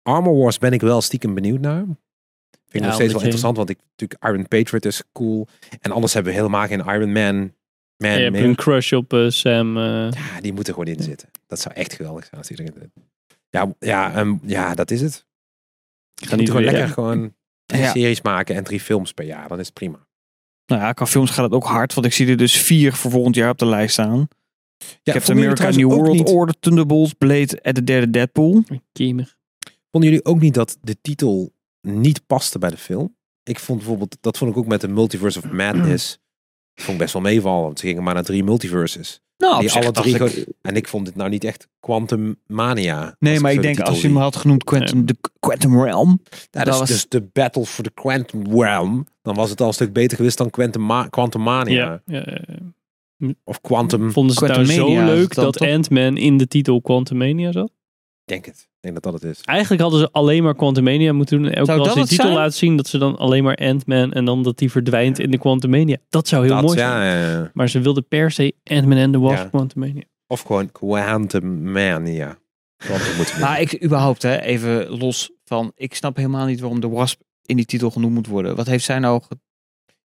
Speaker 5: Armor Wars ben ik wel stiekem benieuwd naar. Vind ik
Speaker 3: Ja,
Speaker 5: nog steeds wel
Speaker 3: omdat je-
Speaker 5: interessant, want ik natuurlijk Iron Patriot is cool. En anders hebben we helemaal geen Iron Man. Man
Speaker 3: Je hebt
Speaker 5: meer.
Speaker 3: een crush op eh, Sam. eh,
Speaker 5: Ja, die moeten gewoon in zitten. Dat zou echt geweldig zijn als die erin zit. Ja, ja, ehm, ja, dat is het.
Speaker 3: ik
Speaker 5: Je
Speaker 3: ga
Speaker 5: moet
Speaker 3: niet
Speaker 5: gewoon
Speaker 3: weer-
Speaker 5: lekker gewoon drie
Speaker 4: Ja.
Speaker 5: series maken en drie films per jaar. Dan is het prima.
Speaker 4: Nou ja, qua films gaat het ook hard. Want ik zie er dus vier voor volgend jaar op de lijst staan.
Speaker 5: Ja,
Speaker 4: Captain
Speaker 5: vonden jullie
Speaker 4: America,
Speaker 5: trouwens
Speaker 4: New
Speaker 5: ook
Speaker 4: World
Speaker 5: niet-
Speaker 4: Order, Thunderbolts, Blade en de derde Deadpool.
Speaker 3: Kiemig.
Speaker 5: Vonden jullie ook niet dat de titel niet paste bij de film? Ik vond bijvoorbeeld, dat vond ik ook met de Multiverse of Madness. Dat vond ik best wel meevallen, want ze gingen maar naar drie multiverses.
Speaker 4: Nou,
Speaker 5: die
Speaker 4: op zich
Speaker 5: alle
Speaker 4: dacht
Speaker 5: drie
Speaker 4: ik-
Speaker 5: gewoon- En ik vond dit nou niet echt Quantum Mania.
Speaker 4: Nee, maar ik denk als je hem had genoemd Quantum, de Quantum Realm.
Speaker 5: dat
Speaker 4: dat
Speaker 5: is
Speaker 4: was-
Speaker 5: dus de Battle for the Quantum Realm. Dan was het al een stuk beter geweest dan Quantum, Ma- Quantum Mania.
Speaker 3: Ja. ja, ja.
Speaker 5: Of Quantum.
Speaker 3: Vonden ze het nou zo
Speaker 4: Quantumania is het
Speaker 3: leuk
Speaker 4: dan,
Speaker 3: dat
Speaker 4: toch?
Speaker 3: Ant-Man in de titel Quantumania zat?
Speaker 5: Ik denk het. Ik denk dat dat het is.
Speaker 3: Eigenlijk hadden ze alleen maar Quantumania moeten doen. En Elke
Speaker 4: Zou
Speaker 3: keer als
Speaker 4: dat
Speaker 3: ze
Speaker 4: het
Speaker 3: die titel
Speaker 4: zijn?
Speaker 3: laten zien, dat ze dan alleen maar Ant-Man en dan dat die verdwijnt in de Quantumania. Dat zou heel
Speaker 5: dat,
Speaker 3: mooi zijn.
Speaker 5: ja, ja, ja.
Speaker 3: Maar ze wilden per se Ant-Man en de Wasp
Speaker 5: Ja.
Speaker 3: Quantumania.
Speaker 5: Of gewoon Quantum Mania. Quantum moeten we
Speaker 4: Maar ik, überhaupt, hè, even los van... Ik snap helemaal niet waarom de Wasp in die titel genoemd moet worden. Wat heeft zij nou... ge-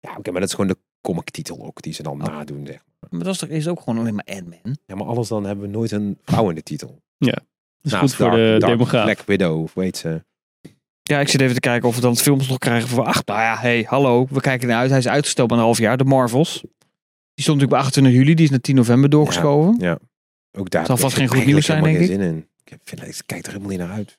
Speaker 5: Ja, oké, maar dat is gewoon de comic titel ook, die ze dan
Speaker 4: Oh.
Speaker 5: nadoen. Zeg.
Speaker 4: Maar dat is toch is ook gewoon alleen maar Ant-Man?
Speaker 5: Ja, maar anders dan hebben we nooit een vrouw in de titel.
Speaker 3: Dat is
Speaker 5: Naast
Speaker 3: goed voor
Speaker 5: Nou, Dark-
Speaker 3: de
Speaker 5: Dark
Speaker 3: demograaf.
Speaker 5: Black Widow, of weet ze.
Speaker 4: Ja, ik zit even te kijken of we dan het films nog krijgen voor acht. Nou ja, hey, hallo. We kijken naar uit. Hij is uitgesteld maar een half jaar. De Marvels. Die stond natuurlijk bij 28 juli. Die is naar 10 november doorgeschoven.
Speaker 5: Ook daar
Speaker 4: Zal
Speaker 5: heb ik
Speaker 4: vast geen goed
Speaker 5: eigenlijk
Speaker 4: nieuws zijn,
Speaker 5: helemaal
Speaker 4: denk
Speaker 5: geen Zin in. Ik, heb- vind, ik kijk er helemaal niet naar uit.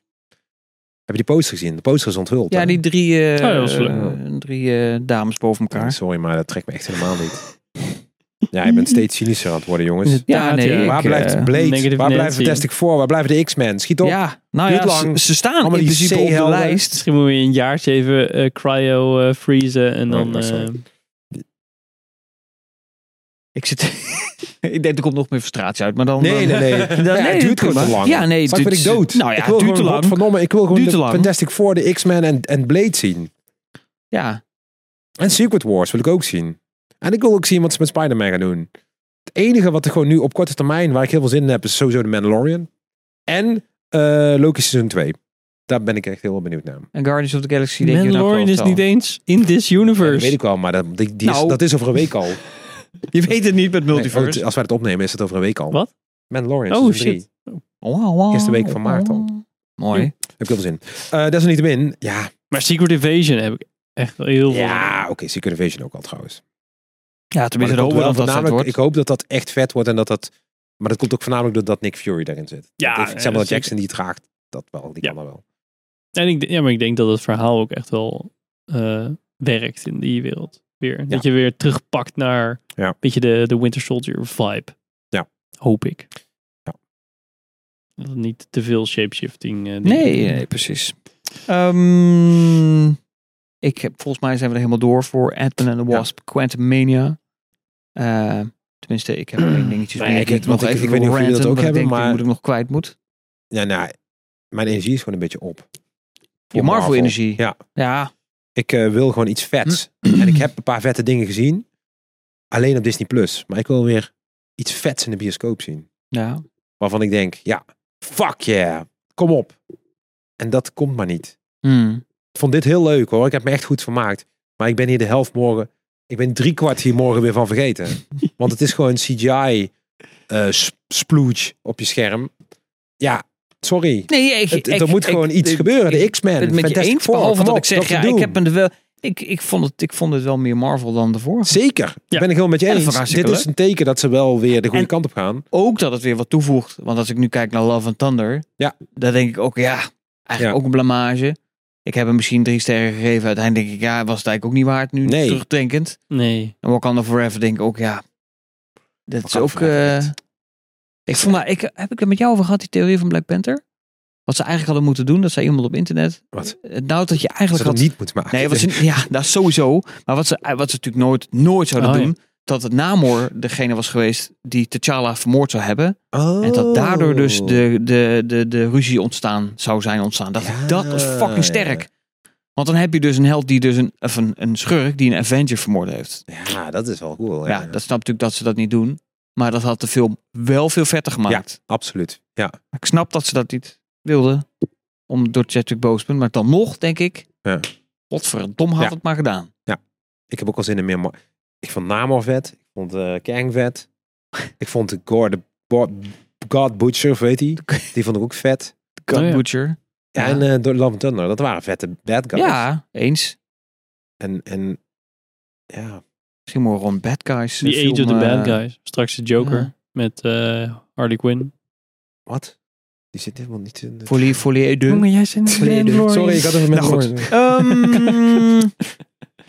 Speaker 5: Heb je die poster gezien? De poster is onthuld.
Speaker 4: Ja,
Speaker 5: hè?
Speaker 4: die drie, eh,
Speaker 3: Oh, dat was leuk.
Speaker 4: eh, drie eh, dames boven elkaar.
Speaker 5: Sorry, maar dat trekt me echt helemaal niet.
Speaker 4: <laughs>
Speaker 5: Ja, je bent steeds cynischer aan het worden, jongens.
Speaker 4: Ja,
Speaker 3: Inderdaad,
Speaker 4: nee, ik,
Speaker 5: Waar
Speaker 4: eh,
Speaker 5: blijft Blade?
Speaker 3: Negative
Speaker 5: Waar blijft
Speaker 3: Nancy.
Speaker 5: Fantastic Four? Waar blijven de X-Men? Schiet op.
Speaker 4: Ja, nou ja,
Speaker 5: Duurt
Speaker 4: ze,
Speaker 5: lang.
Speaker 4: ze staan in
Speaker 5: Allemaal die
Speaker 4: principe op de
Speaker 5: C-helden.
Speaker 4: lijst.
Speaker 3: Misschien moet je een jaartje even eh, cryo eh, freezen en
Speaker 5: Oh,
Speaker 3: dan...
Speaker 5: ja, sorry.
Speaker 3: eh,
Speaker 4: Ik zit... <laughs> ik denk, er komt nog meer frustratie uit, maar dan...
Speaker 5: Nee,
Speaker 4: dan-
Speaker 5: nee,
Speaker 4: <laughs>
Speaker 5: nee. Ja, het duurt gewoon
Speaker 4: prima.
Speaker 5: te lang.
Speaker 4: Ja, nee,
Speaker 5: Straks ben
Speaker 4: duurt-
Speaker 5: ik dood.
Speaker 4: Nou ja,
Speaker 5: ik wil
Speaker 4: het duurt te
Speaker 5: gewoon,
Speaker 4: lang.
Speaker 5: godverdomme, ik wil gewoon
Speaker 4: Duurt
Speaker 5: de
Speaker 4: te lang.
Speaker 5: Fantastic Four, de X-Men en, en Blade zien.
Speaker 4: Ja,
Speaker 5: En Secret Wars wil ik ook zien. En ik wil ook zien wat ze met Spider-Man gaan doen. Het enige wat er gewoon nu op korte termijn, waar ik heel veel zin in heb, is sowieso de Mandalorian. En eh Loki seizoen 2. Daar ben ik echt heel benieuwd naar.
Speaker 4: en Guardians of the Galaxy... denk je, nou,
Speaker 3: Mandalorian
Speaker 4: geloof
Speaker 3: is
Speaker 4: het al.
Speaker 3: niet eens in this universe.
Speaker 5: Dat weet ik wel, maar dat, die, die is-
Speaker 4: Nou.
Speaker 5: dat is over een week
Speaker 4: <laughs>
Speaker 5: al.
Speaker 4: Je weet het niet met
Speaker 5: Nee,
Speaker 4: Multiverse.
Speaker 5: als wij het opnemen, is het over een week al.
Speaker 3: Wat?
Speaker 5: Mandalorian
Speaker 3: Oh,
Speaker 5: seizoen
Speaker 3: shit.
Speaker 5: 3.
Speaker 4: Wow, wow,
Speaker 5: Eerste week van maart al.
Speaker 4: wow. oh, Mooi.
Speaker 5: Heb ik heel veel zin. Eh, Desalniettemin, ja,
Speaker 3: Maar Secret Invasion heb ik echt wel heel veel...
Speaker 5: Ja, oké, Secret Invasion ook al trouwens.
Speaker 4: Ja,
Speaker 5: Maar
Speaker 4: tenminste,
Speaker 5: dat
Speaker 4: hopen
Speaker 5: komt
Speaker 4: we
Speaker 5: wel
Speaker 4: dat dat het
Speaker 5: voornamelijk-
Speaker 4: wordt.
Speaker 5: ik hoop dat dat echt vet wordt en dat dat... Maar dat komt ook voornamelijk doordat Nick Fury daarin zit.
Speaker 3: Ja,
Speaker 5: Ik
Speaker 3: ja,
Speaker 5: zeg maar
Speaker 3: dat
Speaker 5: dat Jackson die draagt, dat wel, die
Speaker 3: Ja.
Speaker 5: kan dat wel.
Speaker 3: En ik, ja, maar ik denk dat het verhaal ook echt wel eh, werkt in die wereld weer. Dat je weer terugpakt naar
Speaker 5: Ja.
Speaker 3: een beetje de, de Winter Soldier vibe.
Speaker 5: Ja.
Speaker 3: Hoop ik.
Speaker 5: Ja.
Speaker 3: Dat het niet te veel shapeshifting eh, dingen
Speaker 4: Nee,
Speaker 3: doen.
Speaker 4: nee, precies. Ehm, ik heb, volgens mij zijn we er helemaal door voor Ant-Man and the Wasp, Quantum Mania. Eh, tenminste, ik heb één dingetje.
Speaker 5: Maar ik-
Speaker 4: het
Speaker 5: want ik- ik weet niet of jullie dat ook hebben,
Speaker 4: Ik denk,
Speaker 5: maar-
Speaker 4: die moet ik nog kwijt moet.
Speaker 5: Ja, nou, mijn energie is gewoon een beetje op.
Speaker 4: Je
Speaker 5: Voor Marvel.
Speaker 4: Marvel-energie.
Speaker 5: Ja.
Speaker 4: Ja.
Speaker 5: Ik eh, wil gewoon iets
Speaker 3: <clears throat>
Speaker 5: vets. En ik heb een paar vette dingen gezien. Alleen op Disney Plus. Maar ik wil weer iets vets in de bioscoop zien.
Speaker 4: ja.
Speaker 5: Waarvan ik denk, ja, fuck yeah. Kom op. En dat komt maar niet.
Speaker 4: Hmm.
Speaker 5: Ik vond dit heel leuk hoor. Ik heb me echt goed vermaakt. Maar ik ben hier de helft morgen. Ik ben drie kwart hier morgen weer van vergeten. Want het is gewoon CGI eh s- sploege op je scherm. Ja, sorry.
Speaker 4: Nee, ik,
Speaker 5: Het-
Speaker 4: ik-
Speaker 5: er moet
Speaker 4: ik-
Speaker 5: gewoon iets
Speaker 4: ik-
Speaker 5: gebeuren.
Speaker 4: ik-
Speaker 5: De X-Men.
Speaker 4: ben het met je
Speaker 5: Fantastic
Speaker 4: eens,
Speaker 5: Four,
Speaker 4: behalve
Speaker 5: kom
Speaker 4: dat
Speaker 5: op,
Speaker 4: ik zeg,
Speaker 5: Doctor
Speaker 4: ja, ik
Speaker 5: Doom.
Speaker 4: heb me er wel... Ik, ik, vond het, ik vond het wel meer Marvel dan daarvoor.
Speaker 5: Zeker.
Speaker 3: Ja.
Speaker 5: Ben ik heel met je
Speaker 4: Ja, dat
Speaker 5: eens.
Speaker 4: vond ik
Speaker 5: Dit
Speaker 4: hartstikke
Speaker 5: is een teken dat ze wel weer de goede
Speaker 4: En- Oh
Speaker 5: kant op gaan.
Speaker 4: Ook dat het weer wat toevoegt. Want als ik nu kijk naar Love and Thunder...
Speaker 5: Ja.
Speaker 4: Dan denk ik ook, ja, eigenlijk
Speaker 5: Ja.
Speaker 4: ook een blamage. Ik heb hem misschien drie sterren gegeven. Uiteindelijk denk ik, ja, was het eigenlijk ook niet waard nu
Speaker 5: Nee.
Speaker 4: terugdenkend.
Speaker 3: Nee.
Speaker 4: En Wakanda Forever denk ik ook, ja. Dat is
Speaker 5: Wakanda
Speaker 4: ook...
Speaker 5: Forever,
Speaker 4: eh,
Speaker 5: echt.
Speaker 4: ik voel maar, ik, heb ik er met jou over gehad, die theorie van Black Panther? Wat ze eigenlijk hadden moeten doen, dat zei iemand op internet.
Speaker 5: Wat?
Speaker 4: eh, Nou, dat je
Speaker 5: Ze
Speaker 4: eigenlijk
Speaker 5: dat
Speaker 4: had...
Speaker 5: niet moeten maken.
Speaker 4: Nee, wat ze, ja, dat sowieso. Maar wat ze, eh, wat ze natuurlijk nooit, nooit zouden
Speaker 3: Oh, ja.
Speaker 4: doen... dat het Namor degene was geweest die T'Challa vermoord zou hebben.
Speaker 5: Oh.
Speaker 4: En dat daardoor dus de, de, de, de ruzie ontstaan zou zijn ontstaan. Dat,
Speaker 5: Ja.
Speaker 4: dat is fucking sterk. Want dan heb je dus een held die dus een, of een, een schurk die een Avenger vermoord heeft.
Speaker 5: Oh, Ja, dat is wel cool.
Speaker 4: Ja, dat snap natuurlijk dat ze dat niet doen. Maar dat had de film wel veel vetter gemaakt.
Speaker 5: absoluut. Ja.
Speaker 4: Ik snap dat ze dat niet wilden. Om door Chadwick Boseman. Maar dan nog, denk ik.
Speaker 5: Ja.
Speaker 4: Godverdomme had
Speaker 5: Ja.
Speaker 4: het maar gedaan.
Speaker 5: Ik heb ook al zin in meer. Mar- Ik vond Namor vet. Ik vond eh Kang <laughs> vet. Ik vond de God, de Bo- God Butcher, of weet <laughs> hij? Die vond ik ook vet.
Speaker 4: God
Speaker 3: Oh ja.
Speaker 4: Butcher. Ja.
Speaker 5: Ja, en eh door Love and Thunder. Dat waren vette bad guys.
Speaker 4: Ja, eens.
Speaker 5: En, en ja.
Speaker 4: Misschien moeten we gewoon Bad Guys.
Speaker 3: The
Speaker 4: eh,
Speaker 3: Age of the
Speaker 4: film,
Speaker 3: Bad
Speaker 4: eh,
Speaker 3: Guys. Straks de Joker
Speaker 4: ja.
Speaker 3: met eh, Harley Quinn.
Speaker 5: Wat? Die zit helemaal niet in de... <laughs>
Speaker 4: Folie, folie, eh, de-
Speaker 5: Hm.
Speaker 3: jij zit
Speaker 5: dus. Sorry, ik had even met
Speaker 4: Nou goed.
Speaker 5: Mandalorian.
Speaker 4: Ehm,
Speaker 5: <laughs>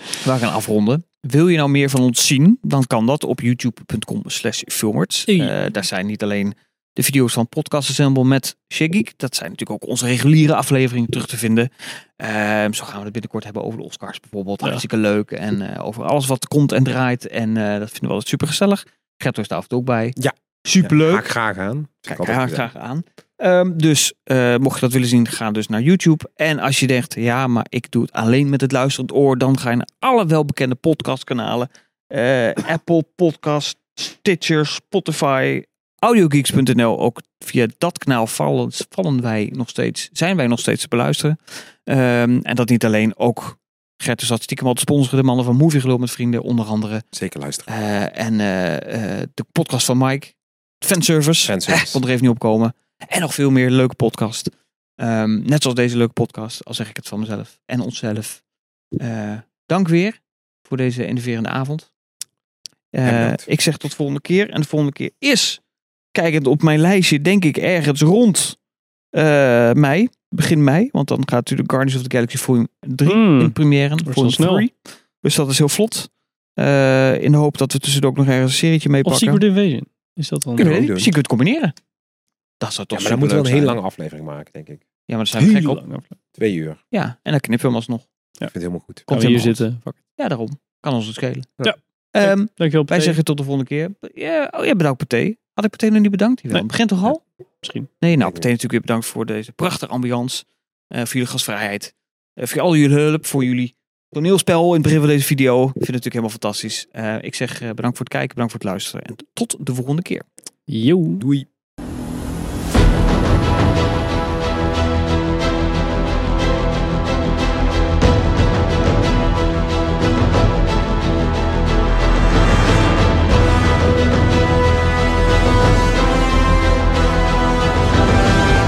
Speaker 4: we gaan afronden. Wil je nou meer van ons zien? Dan kan dat op youtube.com slash filmarts.
Speaker 3: Oei.
Speaker 4: Eh, daar zijn niet alleen de video's van Podcast Assemble met Shaggy. Dat zijn natuurlijk ook onze reguliere afleveringen terug te vinden. Ehm, zo gaan we het binnenkort hebben over de Oscars bijvoorbeeld.
Speaker 3: Ja.
Speaker 4: Hartstikke leuk. En eh, over alles wat komt en draait. En eh, dat vinden we altijd super gezellig. Gert is daar af en toe ook bij.
Speaker 5: Ja.
Speaker 4: <laughs> Superleuk.
Speaker 5: Haak graag aan. Vind Dus ik
Speaker 4: Kijk,
Speaker 5: altijd
Speaker 4: haak
Speaker 5: leuk.
Speaker 4: graag aan. Ehm, dus eh, mocht je dat willen zien, ga dus naar YouTube. En als je denkt, ja, maar ik doe het alleen met het luisterend oor, dan ga je naar alle welbekende podcastkanalen: Eh, Apple Podcast, Stitcher, Spotify, audiogeeks.nl. Ook via dat kanaal vallen, vallen wij nog steeds, zijn wij nog steeds te beluisteren. Ehm, en dat niet alleen, ook Gert is dat stiekem al te sponsoren, de mannen van Movie Geloof met vrienden, onder andere.
Speaker 5: Zeker luisteren.
Speaker 4: Eh, en eh, eh, de podcast van Mike. Fanservice.
Speaker 5: Fanservice.
Speaker 4: Eh, kon er even niet op komen. En nog veel meer leuke podcast. Ehm, net zoals deze leuke podcast, al zeg ik het van mezelf en onszelf. Eh, dank weer voor deze innoverende avond. Eh,
Speaker 5: Ja, bedankt.
Speaker 4: ik zeg tot volgende keer. En de volgende keer is, kijkend op mijn lijstje, denk ik ergens rond eh, mei. Begin mei. Want dan gaat natuurlijk Guardians of the Galaxy Volume 3
Speaker 3: Mm.
Speaker 4: in première.
Speaker 3: wel
Speaker 4: Volume
Speaker 3: snel.
Speaker 4: 3. Dus dat is heel vlot. Eh, in de hoop dat we tussendoor ook nog ergens een serietje mee
Speaker 3: Of
Speaker 4: pakken.
Speaker 3: Secret Invasion. Is dat dan?
Speaker 4: Kunnen we dit?
Speaker 5: ook doen.
Speaker 4: Misschien kunnen we het combineren. Dat zou
Speaker 5: Ja,
Speaker 4: toch
Speaker 5: maar dan moeten we een
Speaker 4: superleuk zijn.
Speaker 5: hele lange aflevering maken, denk ik.
Speaker 4: Ja, maar daar zijn we gek
Speaker 3: Heel
Speaker 4: op.
Speaker 3: lang over.
Speaker 5: Twee uur. Ik
Speaker 4: Ja, en dan knippen we hem alsnog.
Speaker 5: vind het helemaal goed.
Speaker 4: Komt
Speaker 3: Gaan we hier
Speaker 4: helemaal
Speaker 3: zitten. Fuck.
Speaker 4: Ja, daarom. Kan ons het schelen.
Speaker 5: Ja.
Speaker 4: Ehm,
Speaker 3: Dankjewel.
Speaker 4: wij
Speaker 3: Pathé.
Speaker 4: zeggen tot de volgende keer. Ja, oh ja, bedankt Pathé. Had ik Pathé nog niet bedankt? Jawel,
Speaker 3: Nee.
Speaker 4: begint toch al?
Speaker 3: Misschien.
Speaker 4: Nee, nou,
Speaker 5: Nee.
Speaker 4: meteen natuurlijk weer bedankt voor deze prachtige ambiance. eh, voor jullie gastvrijheid. eh, voor al jullie hulp, voor jullie toneelspel in het begin van deze video. Ik vind het natuurlijk helemaal fantastisch. Eh, ik zeg eh, bedankt voor het kijken, bedankt voor het luisteren. En tot de volgende keer.
Speaker 3: Yo.
Speaker 5: Doei.